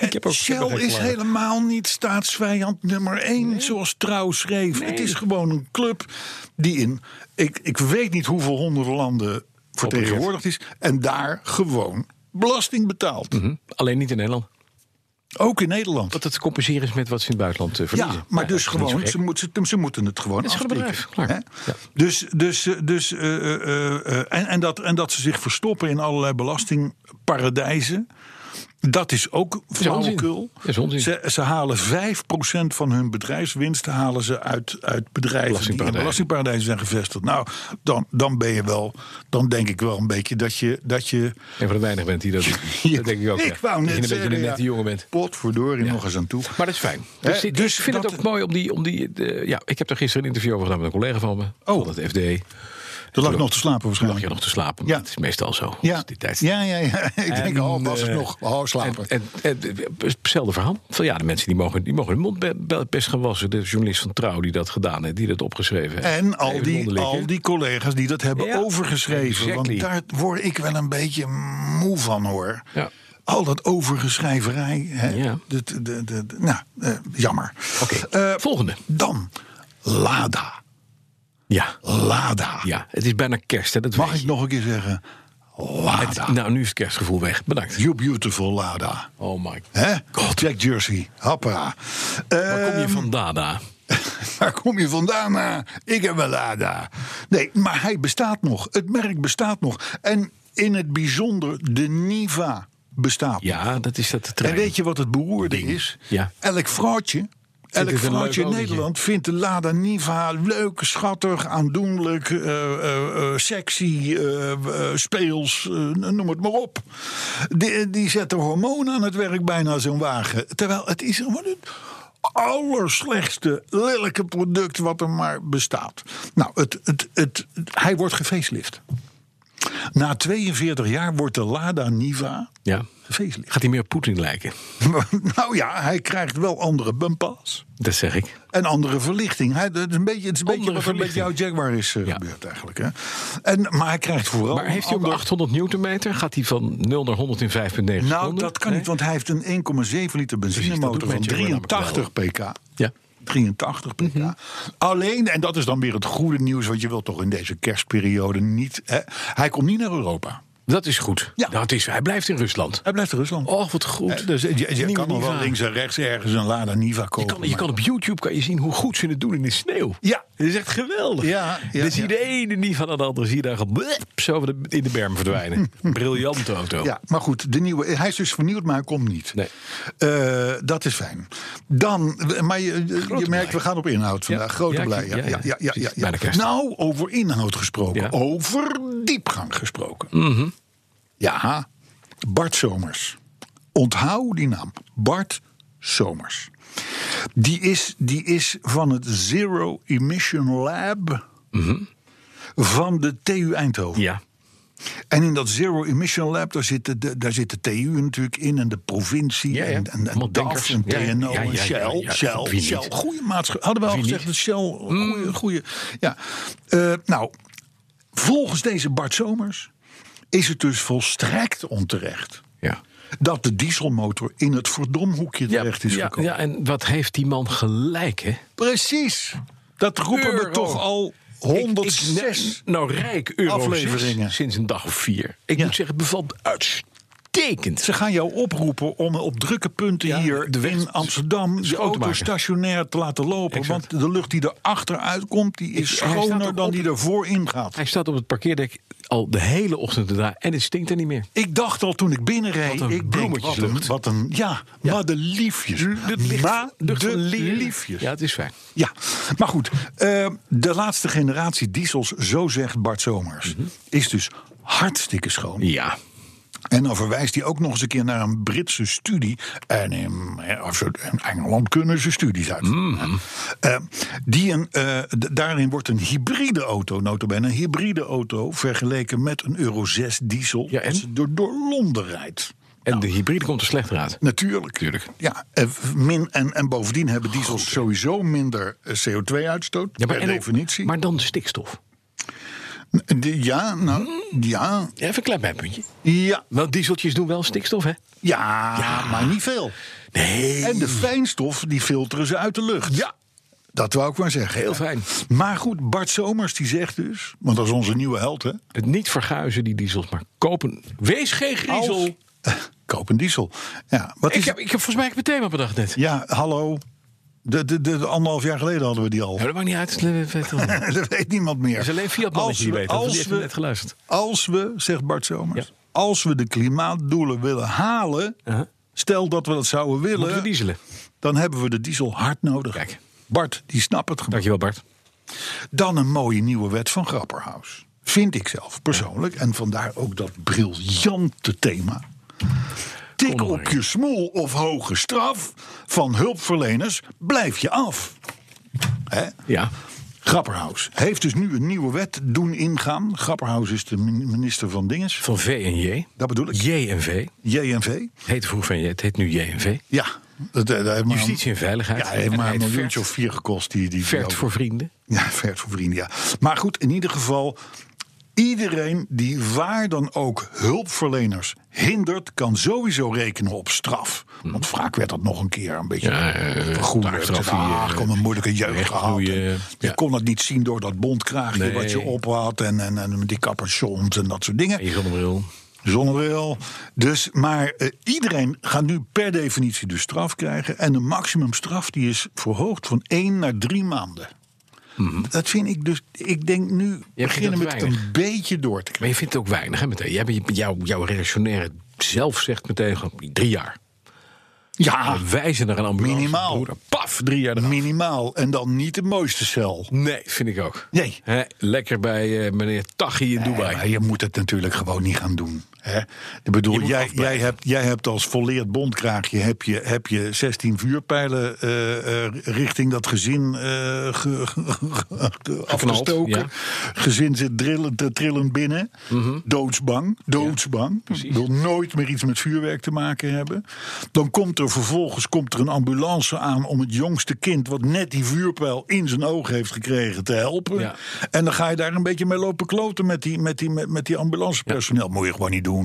ik heb ook, ik heb Shell ook een is klaar. helemaal niet staatsvijand nummer één, zoals Trouw schreef. Het is gewoon een club die in, ik, ik weet niet hoeveel honderden landen vertegenwoordigd is. En daar gewoon belasting betaalt. Hm? Alleen niet in Nederland. Ook in Nederland. Dat het te compenseren is met wat ze in het buitenland eh, verliezen. Ja, maar dat dus is niet zo gewoon, gek. ze, moet- ze, ze moeten het gewoon Het is gewoon een aftikken. bedrijf, klaar. hè? Ja. Dus, dus, eh, dus eh, eh, eh, eh, en, en, dat, en dat ze zich verstoppen in allerlei belastingparadijzen. Dat is ook is onzin. flauwekul. Dat is onzin. Ze, ze halen 5% van hun bedrijfswinst halen ze uit, uit bedrijven die in Belastingparadijzen. belastingparadijzen zijn gevestigd. Nou, dan, dan ben je wel, dan denk ik wel een beetje dat je. Dat je Een van de weinigen bent die dat doet. Dat denk ik ook. ja. wou Dat je net een beetje zeggen, een nette ja, jongen bent. Potverdorie nog eens aan toe. Maar dat is fijn. Hè, Dus, dit- dus ik vind het dat- ook mooi om die... Om die eh, ja, ik heb er gisteren een interview over gedaan met een collega van me. Oh. Van het FD. Dat lag ik nog te slapen Toen lag waarschijnlijk. je nog te slapen. Ja. Ja. Dat is meestal zo. Ja. Dus die tijd. ja, ja, ja. Ik denk, al was het eh, nog. Oh, slapen. En, en, en- hetzelfde verhaal. Van, ja, de mensen die mogen, die mogen hun mond be- be- best gaan wassen. De journalist van Trouw die dat gedaan heeft, die dat opgeschreven heeft. En al Even die, onderlikken. al die collega's die dat hebben Ja, overgeschreven. exactly. Want daar word ik wel een beetje moe van hoor. Ja. Al dat overgeschrijverij. Hè? Ja. De, de, de- de- nou, eh, jammer. Oké, Eh, volgende. dan, Lada. Ja. Lada. ja, het is bijna kerst. Hè, dat Mag weet ik je. nog een keer zeggen? Lada. Nou, nu is het kerstgevoel weg. Bedankt. You beautiful Lada. Oh my Hè? Jack Jersey. Eh, Happa. Waar Ehm. kom je van Dada? Waar kom je vandaan? ah? Ik heb een Lada. Nee, maar hij bestaat nog. Het merk bestaat nog. En in het bijzonder de Niva bestaat. Ja, dat is dat de en trein. weet je wat het beroerde is? Ja. Elk vrouwtje. het Elk een leuk vrouwtje in autootje? Nederland vindt de Lada Niva leuk, schattig, aandoenlijk, eh, eh, eh, sexy, eh, eh, speels, eh, noem het maar op. Die, eh, die zetten hormonen aan het werk bijna zo'n wagen. Terwijl het is gewoon het allerslechtste, lelijke product wat er maar bestaat. Nou, het, het, het, hij wordt gefacelift. Na 42 jaar wordt de Lada Niva Ja. gefacelift. Gaat hij meer op Poetin lijken? Nou ja, hij krijgt wel andere bumpers Dat zeg ik. en andere verlichting. Hij, het is een beetje, het is een beetje Andere wat er met jouw verlichting. Jaguar is eh, Ja. gebeurd eigenlijk. Hè? En, maar hij krijgt vooral Maar heeft een hij ook ander- 800 newtonmeter? Gaat hij van 0 naar 100 in 5,9 seconden? Nou, dat kan Nee? niet, want hij heeft een 1,7 liter dat doet benzinemotor van mijn Jaguar namelijk 83 pk. Ja. Mhm. 83 pk. Alleen, en dat is dan weer het goede nieuws, want je wilt toch in deze kerstperiode niet. Hè, hij komt niet naar Europa. Dat is goed. Ja. Dat is, hij blijft in Rusland. Hij blijft in Rusland. Oh, wat goed. Eh, dus je- je, Nieuwe kan nog wel Niva. links en rechts ergens een Lada Niva Je kopen. kan, je kan op YouTube kan je zien hoe goed ze het doen in de sneeuw. Ja. Dat is echt geweldig. Dus Ja, ja, dan zie je ja. de ene niet van de andere. Zie je daar gewoon blep, zo de- in de berm verdwijnen. Briljante auto. Ja, maar goed, de nieuwe, hij is dus vernieuwd, maar hij komt niet. Nee. Eh, dat is fijn. Dan, maar je, Grote je merkt, we blij. gaan op inhoud vandaag. Grote Ja, ik- blij. Ja, ja, ja, ja, ja, precies. Bijna kerst. Nou, over inhoud gesproken. Ja. Mhm. Over diepgang gesproken. Ja, Bart Somers. Onthoud die naam. Bart Somers. Die is, die is van het Zero Emission Lab Mhm. van de TU Eindhoven. Ja. En in dat Zero Emission Lab, daar zitten de, daar zit de TU natuurlijk in en de provincie Ja, ja. en, en, en Allemaal DAF en TNO denkers. Ja, ja. Ja, ja, ja, ja, en Shell. ja. Shell, Wie Shell. niet? Goede maatschappij. Hadden we al Wie gezegd niet? Mm. dat Shell goede, goede... Ja. Eh, nou, volgens deze Bart Somers is het dus volstrekt onterecht... Ja. dat de dieselmotor in het verdomhoekje terecht is ja, gekomen. ja, en wat heeft die man gelijk, hè? Precies. Dat roepen we Euro. toch al Ik- ik- 106 nou, rijk euro afleveringen. zes sinds een dag of vier. Ik Ja. moet zeggen, het bevalt uitstekend. Ze gaan jou oproepen om op drukke punten Ja, hier de weg in Amsterdam de schoon te auto maken. stationair te laten lopen. Exact. Want de lucht die er achteruit komt, die is Ik- hij staat schoner ook dan op- die ervoor ingaat. Hij staat op het parkeerdek al de hele ochtend erna en het stinkt er niet meer. Ik dacht al toen ik binnenreed, Wat een ik denk, wat een, bloemetjeslucht. wat een, ja, wat de liefjes. Maar de liefjes. Ja, het is fijn. Ja, maar goed. eh, de laatste generatie diesels, zo zegt Bart Somers, Mhm. is dus hartstikke schoon. Ja. En dan verwijst hij ook nog eens een keer naar een Britse studie. En in, eh, of zo- in Engeland kunnen ze studies uit. Mhm. Eh, die een, eh, d- daarin wordt een hybride auto, notabene, een hybride auto... vergeleken met een Euro 6 diesel Ja, en? als ze door, door Londen rijdt. En de hybride komt er slecht uit. Natuurlijk. Tuurlijk. Ja, en, min, en, en bovendien hebben diesels sowieso minder eh, CO2-uitstoot. per en ook- definitie. maar dan de stikstof. N- de- ja, nou, Hmm. ja, Even een klein bijpuntje. ja, Want dieseltjes doen wel stikstof, hè? ja, maar niet veel. Nee. En de fijnstof, die filteren ze uit de lucht. Ja. Dat wou ik maar zeggen. Heel fijn. Maar goed, Bart Somers die zegt dus, want dat is onze nieuwe held hè. Het niet verguizen, die diesels, maar kopen. Wees geen griezel. Als- Koop een diesel. Ja, wat Ik, is, heb, ik heb volgens mij heb ik mijn thema bedacht net. ja hallo. De, de, de, anderhalf jaar geleden hadden we die al. Nou, dat maakt niet uit. Het dat weet niemand meer. is alleen Fiat als mannetje die we, weet. dat. Die als heeft net we, geluisterd. als we, zegt Bart Somers, Ja. als we de klimaatdoelen willen halen, Uh-huh. stel dat we dat zouden Moeten we willen, dieselen. dan hebben we de diesel hard nodig. Kijk. Bart, die snapt het gewoon. Dankjewel, Bart. Dan een mooie nieuwe wet van Grapperhaus. Vind ik zelf persoonlijk. En vandaar ook dat briljante thema. Tik Kom maar. op je smoel of hoge straf. Van hulpverleners blijf je af. Hè? Ja. Grapperhaus heeft dus nu een nieuwe wet doen ingaan. Grapperhaus is de min- minister van Dinges. Van V en J. Dat bedoel ik. J en V. JNV. Heette vroeg van J. Het heet nu J en V. Ja. Dat, dat heeft maar- Justitie en veiligheid. Ja, heeft En maar hij een heet miljoentje Vert. of vier gekost. Die, die Vert voor vrienden. Ja, ver voor vrienden, ja. Maar goed, in ieder geval... iedereen die waar dan ook hulpverleners hindert... kan sowieso rekenen op straf. Want vaak werd dat nog een keer een beetje... Mhm. Ja, eh, vergoed. taakstraf Ah, die, eh, er kwam een moeilijke jeugd gehaald. en wegknoeien, Je ja. kon het niet zien door dat bondkraagje Nee. wat je op had... en, en, en die capuchons en dat soort dingen. En je zonnebril. Zonnebril. Dus, maar eh, iedereen gaat nu per definitie dus straf krijgen. En de maximumstraf die is verhoogd van één naar drie maanden. Mhm. Dat vind ik dus. Ik denk nu beginnen dat met weinig. een beetje door te krijgen. Maar je vindt het ook weinig, hè, meteen. Jij, bent- jouw, jouw reactionaire zelf zegt meteen gewoon drie jaar. Ja, We wijzen naar een ambulance. Ah. Minimaal. Broeder, paf, drie jaar eraf. minimaal. En dan niet de mooiste cel. Nee, vind ik ook. Nee. Hè, lekker bij eh, meneer Tachi in Dubai. Maar je moet het natuurlijk gewoon niet gaan doen. Hè? Ik bedoel, Je moet jij, afblijven. jij, hebt, jij hebt als volleerd bondkraagje heb je, heb je 16 vuurpijlen eh, eh, richting dat gezin eh, ge- ge- ge- afgestoken. ja. Gezin zit drillend, eh, trillend binnen. Doodsbang. Doodsbang. Wil nooit meer iets met vuurwerk te maken hebben. Dan komt er vervolgens komt er een ambulance aan om het jongste kind... wat net die vuurpijl in zijn oog heeft gekregen te helpen. Ja. En dan ga je daar een beetje mee lopen kloten met die, met die, met, met die ambulancepersoneel. Moet je gewoon niet doen.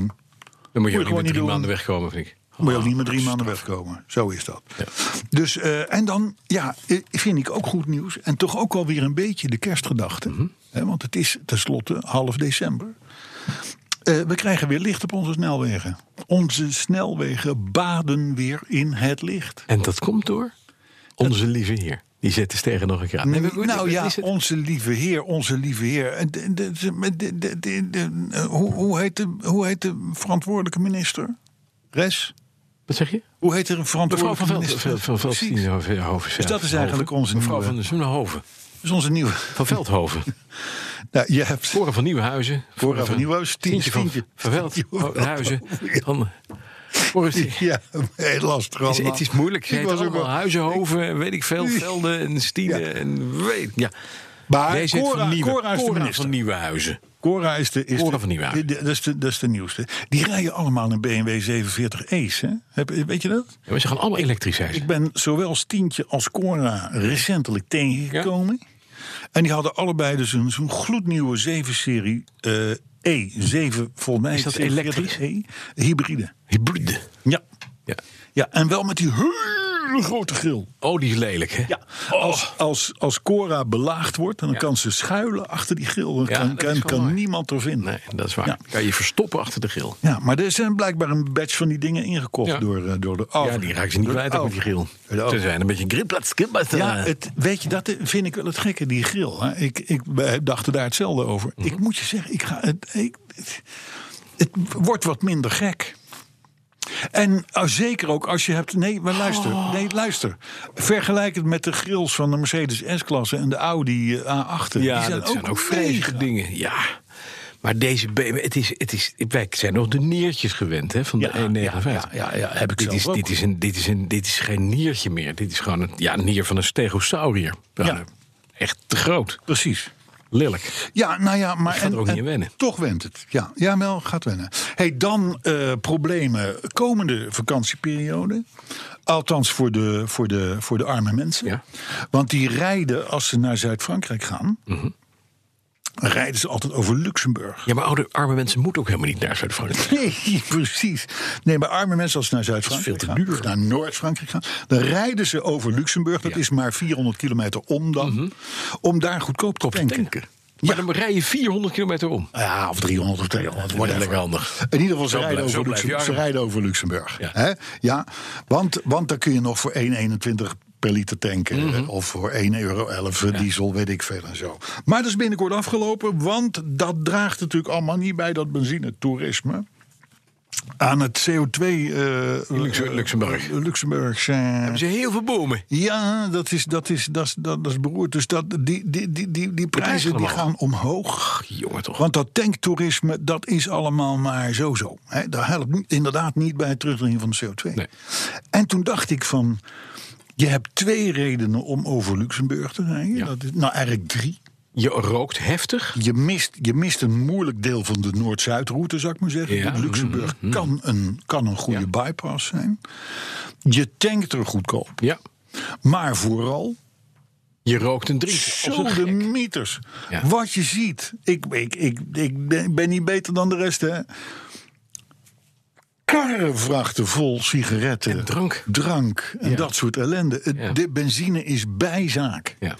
Dan moet je ook niet Moet je met gewoon niet drie doen. maanden wegkomen, vind ik. Moet je ook niet met drie maanden wegkomen. Zo is dat. Dus, eh, en dan, ja, eh, vind ik ook goed nieuws. En toch ook Mhm. alweer een beetje de kerstgedachte. Hè, want het is tenslotte half december. Eh, Eh, we krijgen weer licht op onze snelwegen. Onze snelwegen baden weer in het licht. En dat komt door onze lieve heer. Die zet de sterren nog een keer aan. maar goed, nou is ja, het- onze lieve heer, onze lieve heer. Eh, de- de- de- de- de- de- de- eh, Hoe hoe heet de- hoe heet de verantwoordelijke minister? Res? Wat zeg je? Hoe heet er een Mevrouw verantwoordelijke van Velden. minister? Van, van Precies. Veldhoven. Dus dat is eigenlijk onze Mevrouw nieuwe- van Zoenhoven. Dat is onze nieuwe. Van Veldhoven. Nou, je hebt Cora van Nieuwenhuizen. Cora van Nieuwenhuizen, Tientje van Tientje. van Veldhuizen. Dan... Boris, het Ja, heel lastig is, allemaal. het is moeilijk. Ik Het was was ook allemaal wel- Huizenhoven en weet ik veel. Velden en Stienen Ja. en weet Ja. Maar Jij zegt Cora- van, Nieuwe, Cora is de Cora minister. van Nieuwenhuizen. Cora is de. Is Cora de- van Nieuwenhuizen. de- de- Dat is de, dat is de nieuwste. Die rijden allemaal in BMW 47 E's. Hè? Heb, weet je dat? Ja, maar ze gaan allemaal elektrisch zijn. Ik ben zowel Stientje als Cora recentelijk tegengekomen. En die hadden allebei dus een, zo'n gloednieuwe 7-serie eh, E. 7, volgens mij Is dat 47 E. Hybride. Hybride. Ja. Ja. ja. En wel met die hele grote grill. Oh, die is lelijk, hè? Ja, als, Oh. als, als Cora belaagd wordt, dan kan ze schuilen achter die grill. Dan Ja, kan, dat is kan, wel kan mooi. niemand er vinden. Nee, dat is waar. Ja. Kan je verstoppen achter de grill. Ja, maar er zijn blijkbaar een batch van die dingen ingekocht Ja. door, eh, door de overheid. Ja, die raken ze niet Door de kwijt ook met die grill. overheid. Door de Ze zijn een beetje eh. gripplaats, gripplaats. Ja, het, weet je, dat vind ik wel het gekke, die grill. Hè. Ik, ik wij dachten daar hetzelfde over. Mhm. Ik moet je zeggen, ik ga, het, ik, het, het wordt wat minder gek. En ah, zeker ook als je hebt. Nee, maar luister. Oh. Nee, luister. Vergelijk het met de grills van de Mercedes S-klasse en de Audi eh, A8. Ja, dat zijn ook vreselijke mega. dingen. Ja. Maar deze BMW, het is, het is, wij zijn nog de niertjes gewend hè, van de Ja, E59. ja, ja, ja, heb ik dit, zelf is, ook. dit, is een, dit, is een, dit is geen niertje meer. Dit is gewoon een ja, een nier van een stegosaurier. Ja. Echt te groot. Precies. Lelijk. Ja, nou ja, maar. Ik ga er ook niet aan wennen. Toch went het. Ja, ja wel, gaat wennen. Hey, dan eh, problemen komende vakantieperiode. Althans voor de, voor de, voor de arme mensen. Ja. Want die rijden als ze naar Zuid-Frankrijk gaan. Mhm. Rijden ze altijd over Luxemburg. Ja, maar oude, arme mensen moeten ook helemaal niet naar Zuid-Frankrijk. Nee, precies. Nee, maar arme mensen als ze naar Zuid-Frankrijk veel gaan, te of naar Noord-Frankrijk gaan, dan rijden ze over Luxemburg. Dat is maar 400 kilometer om dan, om daar goedkoop te tanken. Mhm. Tanken. Maar dan rij je 400 kilometer om. Ja, of 300 of 200. Dat is whatever. lekker handig. In ieder geval, ze, Zo rijden, blijf- over zo blijf je Luxemburg, ze arm. rijden over Luxemburg. Ja. Hè? Ja, want, want dan kun je nog voor 1,21 per liter tanken. Mhm. eh, Of voor 1,11 euro diesel, weet ik veel en zo. Maar dat is binnenkort afgelopen. Want dat draagt natuurlijk allemaal niet bij dat benzinetoerisme. Aan het CO2... eh, Luxe- eh, Luxemburg. Luxemburgse... Er zijn heel veel bomen. Ja, dat is, dat is, dat is, dat is beroerd. Dus dat, die, die, die, die, die prijzen die allemaal. gaan omhoog. Jongen toch. Want dat tanktoerisme, dat is allemaal maar zo-zo. Hè? Dat helpt niet- inderdaad niet bij het terugdringen van de CO2. Nee. En toen dacht ik van... Je hebt twee redenen om over Luxemburg te rijden. Ja. Dat is, nou, eigenlijk drie. Je rookt heftig. Je mist, je mist een moeilijk deel van de Noord-Zuidroute, zou ik maar zeggen. Ja. Mm-hmm. Want Luxemburg kan, een, kan een goede bypass zijn. Je tankt er goedkoop. Ja. Maar vooral, Je rookt en drinkt. Als een zo gek. de meters. Ja. Wat je ziet. Ik, ik, ik, ik ben- ben niet beter dan de rest, hè. Karrenvrachten vol sigaretten. En drank. Drank en Ja. dat soort ellende. Het- Ja. De benzine is bijzaak. Ja.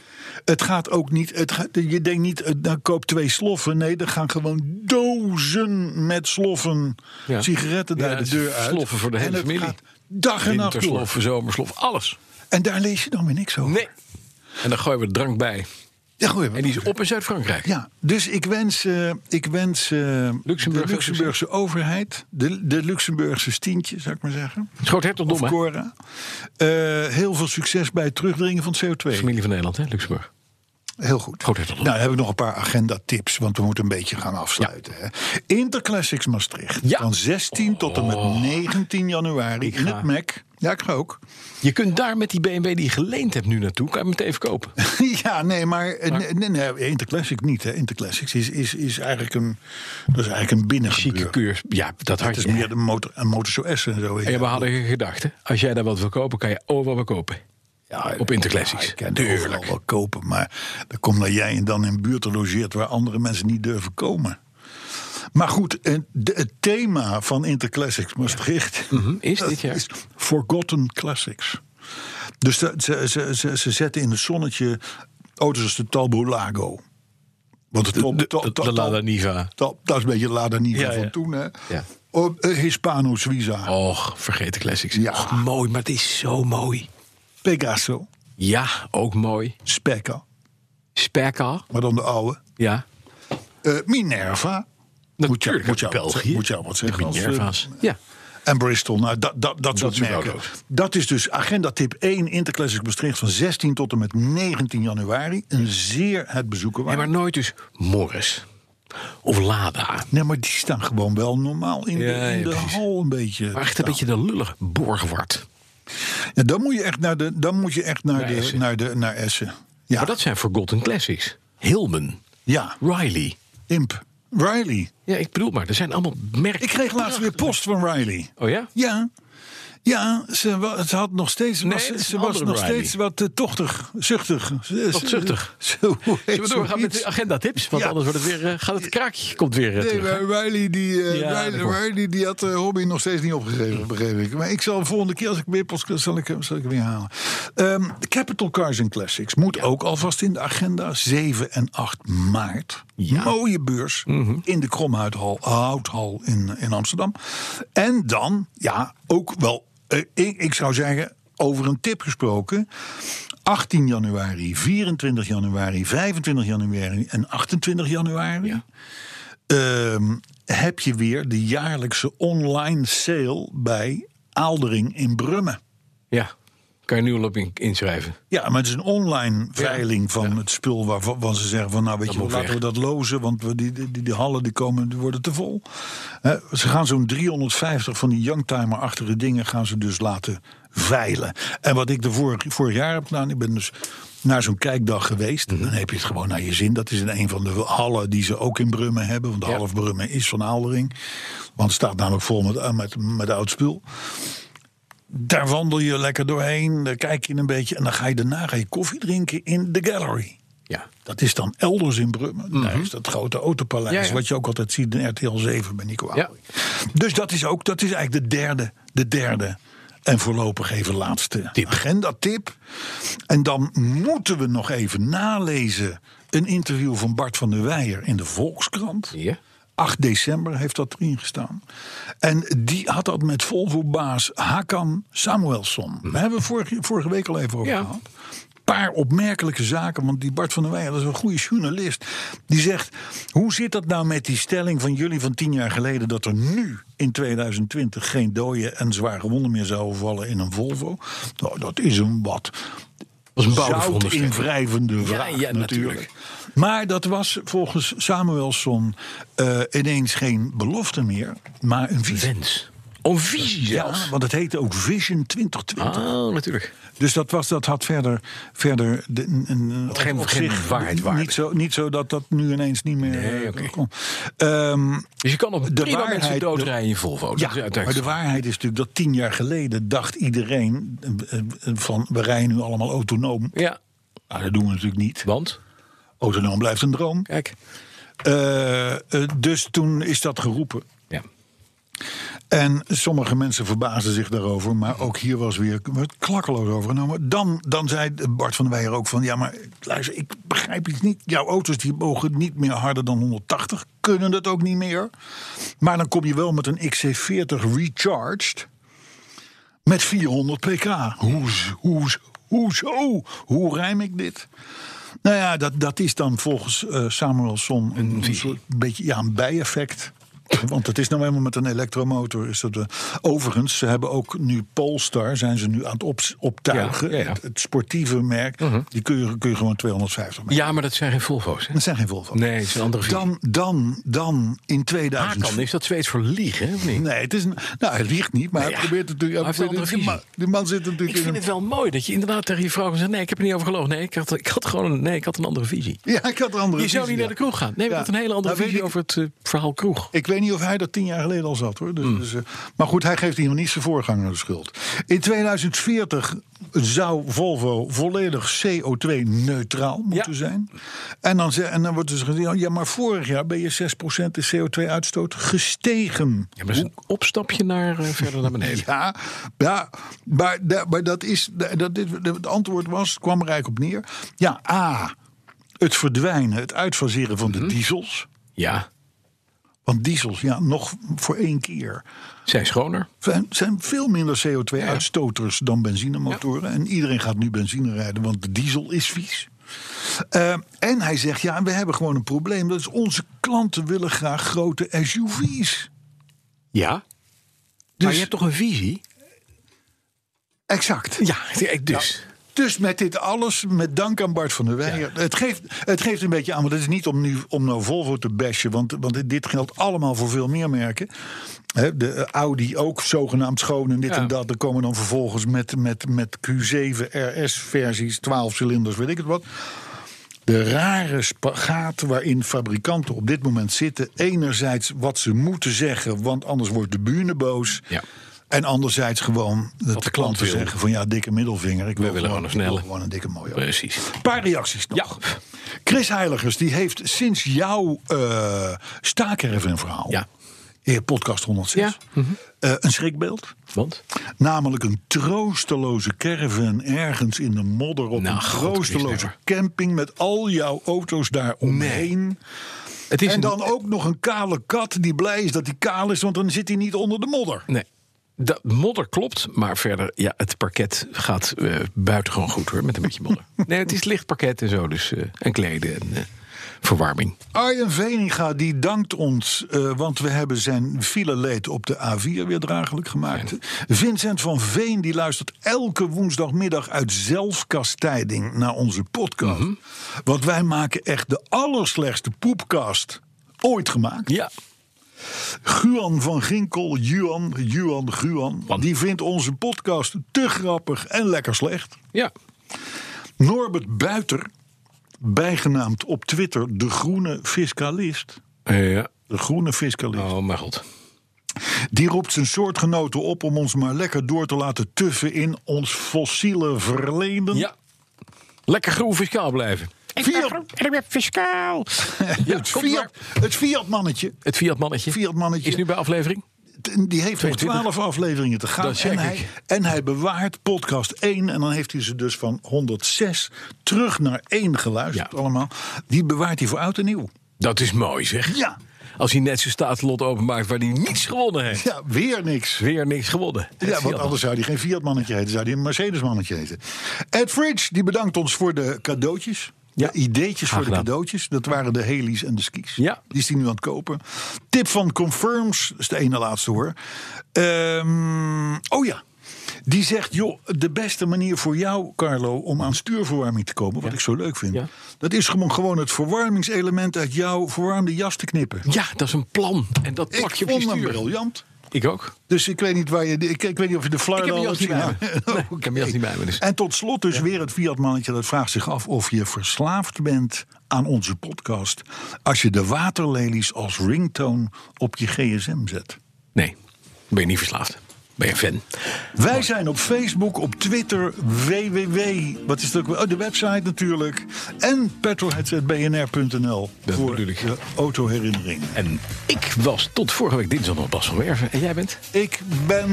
Het gaat ook niet. Het gaat, je denkt niet, eh, nou koop twee sloffen. Nee, er gaan gewoon dozen met sloffen Ja. sigaretten Ja, daar de het deur is uit. sloffen voor de hele En het familie. gaat dag en nacht door. Winterslof, zomerslof, alles. En daar lees je dan weer niks over. Nee. En dan gooien we drank bij. Ja, goeie, En die is op in Zuid-Frankrijk. Ja, dus ik wens, eh, ik wens eh, Luxemburg- de Luxemburgse overheid, de, de Luxemburgse stientje, zou ik maar zeggen, Het groot hertogdom, of hè? Cora, eh, heel veel succes bij het terugdringen van CO2. Familie van Nederland, hè, Luxemburg. Heel goed. Groot hertogdom. nou, dan heb ik nog een paar agenda-tips, want we moeten een beetje gaan afsluiten. Hè. Interclassics Maastricht, Ja. Oh. van 16 tot en met 19 januari in ga. het MAC. Ja, ik ga ook. Je kunt daar met die BMW die je geleend hebt nu naartoe, kan je hem meteen even kopen. ja, nee, maar, eh, Nee, nee, nee, Interclassic niet. Hè. Interclassics is, is, is eigenlijk een, dat is eigenlijk een Chique binnengebeur. kuurs. Ja, dat had Het is je. meer de motor, een motor SOS en zo. En we hadden je gedacht, hè? als jij daar wat wil kopen, kan je overal wat kopen. Ja, op Interclassics. Ja, ik kan er overal wel kopen, maar dan kom dat jij en dan in buurten logeert waar andere mensen niet durven komen. Maar goed, en de- het thema van Interclassics Maastricht Mhm, Is dat dit jaar? is Forgotten Classics. Dus dat- ze, ze, ze, ze zetten in het zonnetje auto's als de Talbot Lago. Want de top, De- top, de- top, de top, Lada Niva. top, dat is een beetje de Lada Niva Ja, van ja. toen, hè? Ja. Oh. Oh, eh, Hispano Suiza, Och, vergeten classics. Ja. Och, mooi, maar het is zo mooi. Pegaso, Ja, ook mooi. Specca, Spekka. maar dan de oude. Ja. Eh, Minerva. Natuurlijk, moet je, uit wat- België. Moet je wat zeggen. als, eh, Minerva's. Ja. En Bristol, nou, dat, dat, dat soort soort merken. auto's. Dat is dus agenda tip 1 Interclassic Maastricht van 16 tot en met 19 januari. Een zeer het bezoeken waard. Nee, maar nooit dus Morris. Of Lada. Nee, maar die staan gewoon wel normaal in Ja, de, in ja, de precies. hal een beetje. Maar echt een beetje de lullig Borgward. Ja, dan moet je echt naar de, dan moet je echt naar, Naar de, Essen. naar de naar Essen. Ja, Maar dat zijn forgotten classics. Hilman. ja. Riley. Imp. Riley. Ja, ik bedoel maar, er zijn allemaal merken. Ik kreeg laatst weer post van Riley. Oh ja? Ja. Ja, ze, wa- ze had nog steeds, Nee, was, het is ze een was andere nog Riley. steeds wat eh, tochtig, zuchtig. Wat zuchtig. Zo, hoe heet Zullen we doorgaan met zoiets? de agendatips? Want Ja. anders wordt het weer, eh, gaat het kraakje komt weer eh, Nee, terug. maar Riley, die, eh, Ja, Riley, dat klopt. Riley, die had de hobby nog steeds niet opgegeven, begreep ik. Maar ik zal de volgende keer, als ik weer post, zal ik, hem- zal ik hem weer halen. Ehm, de Capital Cars and Classics moet ook alvast in de agenda. 7 en 8 maart. Mooie beurs Mhm. in de Kromhouthal Houthal in, in Amsterdam. En dan, ja, ook wel, eh, ik, ik zou zeggen, over een tip gesproken... 18 januari, 24 januari, 25 januari en 28 januari ehm, heb je weer de jaarlijkse online sale bij Aaldering in Brummen. Ja, kan je nu al op in- inschrijven. Ja, maar het is een online veiling van het spul waarvan van ze zeggen van nou weet je, moet wel, laten we weg. dat lozen, want we, die, die, die, die hallen die komen die worden te vol. Hè, ze gaan zo'n 350 van die youngtimer-achtige dingen gaan ze dus laten veilen. En wat ik de vorig, vorig jaar heb gedaan, ik ben dus naar zo'n kijkdag geweest. Dan heb je het gewoon naar je zin. Dat is in een van de hallen die ze ook in Brummen hebben, want de Ja. half Brummen is van Aaldering. Want het staat namelijk vol met, eh, met, met oud spul. Daar wandel je lekker doorheen, daar kijk je een beetje en dan ga je daarna ga je koffie drinken in de gallery. Ja. Dat is dan elders in Brummen. Daar is dat grote autopaleis, Mhm. Ja, ja. wat je ook altijd ziet in RTL 7 bij Nico Ja. Aalding. Dus dat is ook, dat is eigenlijk de derde, de derde en voorlopig even laatste Tip. agenda-tip. En dan moeten we nog even nalezen een interview van Bart van der Weijer in de Volkskrant. Ja. 8 december heeft dat erin gestaan. En die had dat met Volvo-baas Hakan Samuelsson. Daar hebben we vorige, vorige week al even over Mhm. Ja. gehad. paar opmerkelijke zaken, want die Bart van der Weijer, dat is een goede journalist. Die zegt, hoe zit dat nou met die stelling van jullie van tien jaar geleden... dat er nu in 2020 geen doden en zwaar gewonden meer zouden vallen in een Volvo? Nou, dat is een wat was een zout bouwde invrijvende vraag ja, natuurlijk. natuurlijk. Maar dat was volgens Samuelson eh, ineens geen belofte meer, maar een visie. Wens. Om visie zelfs. Ja, want het heette ook Vision 2020. Oh, natuurlijk. Dus dat, was, dat had verder, verder de, n- n- op- geen- op geen zich waarheid waarde. Niet zo, niet zo dat dat nu ineens niet meer Nee, eh, oké. kon. Ehm, Dus je kan op de prima mensen waarheid- doodrijden in Volvo. Dat is ja, maar de uiteindelijk- waarheid is natuurlijk dat tien jaar geleden dacht iedereen eh, eh, van we rijden nu allemaal autonoom. Ja, Nou, dat doen we natuurlijk niet. want, Autonoom blijft een droom. kijk. Eh, eh, dus toen is dat geroepen. Ja. En sommige mensen verbaasden zich daarover. Maar ook hier was weer werd klakkeloos overgenomen. Dan, dan zei Bart van der Weijer ook van... Ja, maar luister, ik begrijp iets niet. Jouw auto's die mogen niet meer harder dan 180. Kunnen dat ook niet meer. Maar dan kom je wel met een XC40 recharged. Met 400 pk. Hoes, hoes, hoezo? Hoe rijm ik dit? Nou ja, dat, dat is dan volgens eh, Samuelson een, een soort beetje ja, een bijeffect. Want het is nou helemaal met een elektromotor. Is dat, eh, overigens, ze hebben ook nu Polestar, zijn ze nu aan het op, optuigen. Ja, ja, Mhm. ja. Het, het sportieve merk, die kun je, kun je gewoon 250 maken. ja, maar dat zijn geen Volvo's. Hè? Dat zijn geen Volvo. Nee, het is een andere visie. Dan, dan, dan in 2000. Hakan, is dat Zweeds voor liegen, hè, of niet? Nee, het is een, nou, hij liegt niet, maar Nou ja, hij probeert natuurlijk. hij heeft een andere die, man, die man zit natuurlijk Ik vind in het wel mooi dat je inderdaad tegen je vrouw zegt... nee, ik heb er niet over gelogen. Nee, ik had, ik had gewoon een, nee, ik had een andere visie. een. Ja, ik had een andere. Je zou niet visie, naar ja. de kroeg gaan. Nee, we Ja. hadden een hele andere Nou, weet visie ik- over het eh, verhaal kroeg. Ik weet niet of hij dat tien jaar geleden al zat hoor. Dus, Hmm. dus, eh, maar goed, hij geeft iemand niet zijn voorganger de schuld. In 2040 zou Volvo volledig CO2-neutraal moeten Ja. zijn. En dan, ze- en dan wordt dus gezegd: ja, maar vorig jaar ben je 6% de CO2-uitstoot gestegen. Ja, maar dat is een opstapje naar, eh, verder naar beneden. Ja, ja maar, da- maar dat is. da- Dat, dit, het antwoord was, kwam er eigenlijk op neer. Ja, A. Het verdwijnen, het uitfaseren van Mhm. de diesels. Ja, Want diesels, ja, nog voor één keer. zijn schoner. Zijn, zijn veel minder CO2-uitstoters dan benzinemotoren. En iedereen gaat nu benzine rijden, want de diesel is vies. Eh, en hij zegt, ja, we hebben gewoon een probleem. Dat is onze klanten willen graag grote SUV's. Ja. Maar Dus- je hebt toch een visie? Exact. Ja, dus. Dus met dit alles, met dank aan Bart van der Weijer. Het, geeft, het geeft een beetje aan, want het is niet om nu om nou Volvo te bashen. Want, want dit geldt allemaal voor veel meer merken. Hè, de eh, Audi ook zogenaamd schoon en dit Ja. en dat. Er komen dan vervolgens met, met, met Q7 RS-versies, 12 cilinders, weet ik het wat. De rare spagaat waarin fabrikanten op dit moment zitten. Enerzijds wat ze moeten zeggen, want anders wordt de buurne boos. Ja. En anderzijds gewoon dat de de klant klanten wil. zeggen van ja, dikke middelvinger. Ik wil willen gewoon een ik wil snelle. Gewoon een dikke mooie. auto. Precies. Een paar reacties nog. Ja. Chris Heiligers, die heeft sinds jouw eh staakervenverhaal... Ja. in podcast 106, Ja, mhm. eh, een schrikbeeld. Want? Namelijk een troosteloze caravan ergens in de modder... op Nou, een God, Chris, troosteloze never. camping met al jouw auto's daar omheen. Het is En een- dan ook nog een kale kat die blij is dat hij kaal is... want dan zit hij niet onder de modder. Nee. Dat modder klopt, maar verder, ja, het parket gaat eh buitengewoon goed hoor, met een beetje modder. Nee, het is licht parket en zo, dus eh, en kleden en eh, verwarming. Arjen Veninga die dankt ons, eh, want we hebben zijn fileleed op de A4 weer draaglijk gemaakt. Vincent van Veen die luistert elke woensdagmiddag uit zelfkastijding naar onze podcast. Want wij maken echt de allerslechtste poepkast ooit gemaakt. Ja. Guan van Ginkel, Juan, Juan, Guan, Wan. die vindt onze podcast te grappig en lekker slecht. Ja. Norbert Buiter, bijgenaamd op Twitter de groene fiscalist... Eh, ja. De groene fiscalist. Oh mijn god. Die roept zijn soortgenoten op om ons maar lekker door te laten tuffen in ons fossiele verleden. Ja. Lekker groen fiscaal blijven. Fiat, En ik ben fiscaal. Ja, het, komt Fiat, maar. het Fiat-mannetje, Het Fiat-mannetje Fiat-mannetje. is nu bij aflevering. die heeft nog 22. twaalf afleveringen te gaan. Dat zeg En hij, ik. en hij bewaart podcast 1. En dan heeft hij ze dus van 106 terug naar 1 geluisterd Ja. allemaal. Die bewaart hij voor oud en nieuw. Dat is mooi zeg. Ja. Als hij net zijn staatslot openmaakt waar hij niets gewonnen heeft. Ja, weer niks. Weer niks gewonnen. Het Ja, want Fiat-mannetje. anders zou hij geen Fiat-mannetje heten, zou hij een Mercedes-mannetje heten. Ed Fridge, die bedankt ons voor de cadeautjes. Ja. De ideetjes voor de gedaan. cadeautjes. Dat waren de heli's en de skis. Ja. Die is hij nu aan het kopen. Tip van Confirms, dat is de ene laatste hoor. Ehm, oh ja. Die zegt, joh, de beste manier voor jou, Carlo, om aan stuurverwarming te komen, wat ik zo leuk vind, Ja. dat is gewoon, gewoon het verwarmingselement uit jouw verwarmde jas te knippen. Ja, dat is een plan. En dat Ik plak je op je vond hem stuur. briljant. Ik ook. Dus ik weet niet waar je. Ik, ik weet niet of je de flyer Ik heb al hem jas hebt niet bij zien me. hangen. Nee, ik heb hem jas niet bij me, dus. En tot slot dus weer het Fiat-mannetje. Dat vraagt zich af of je verslaafd bent aan onze podcast. Als je de waterlelies als ringtone op je gsm zet. Nee, ben je niet verslaafd. Ben je fan. Wij zijn op Facebook, op Twitter, www. Wat is het ook? weer? Oh, de website natuurlijk. En petrolheads.bnr.nl Dat voor bedoel ik. de autoherinnering. En ik was tot vorige week dinsdag nog Bas van Werven. En jij bent? Ik ben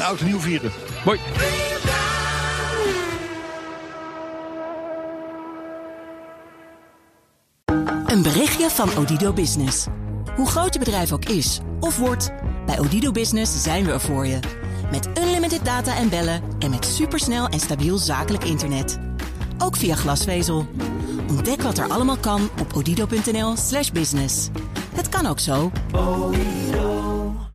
oud en nieuw vieren. Mooi. Een berichtje van Odido Business. Hoe groot je bedrijf ook is of wordt, bij Odido Business zijn we er voor je. Met unlimited data en bellen en met supersnel en stabiel zakelijk internet. Ook via glasvezel. Ontdek wat er allemaal kan op odido.nl/business. Het kan ook zo.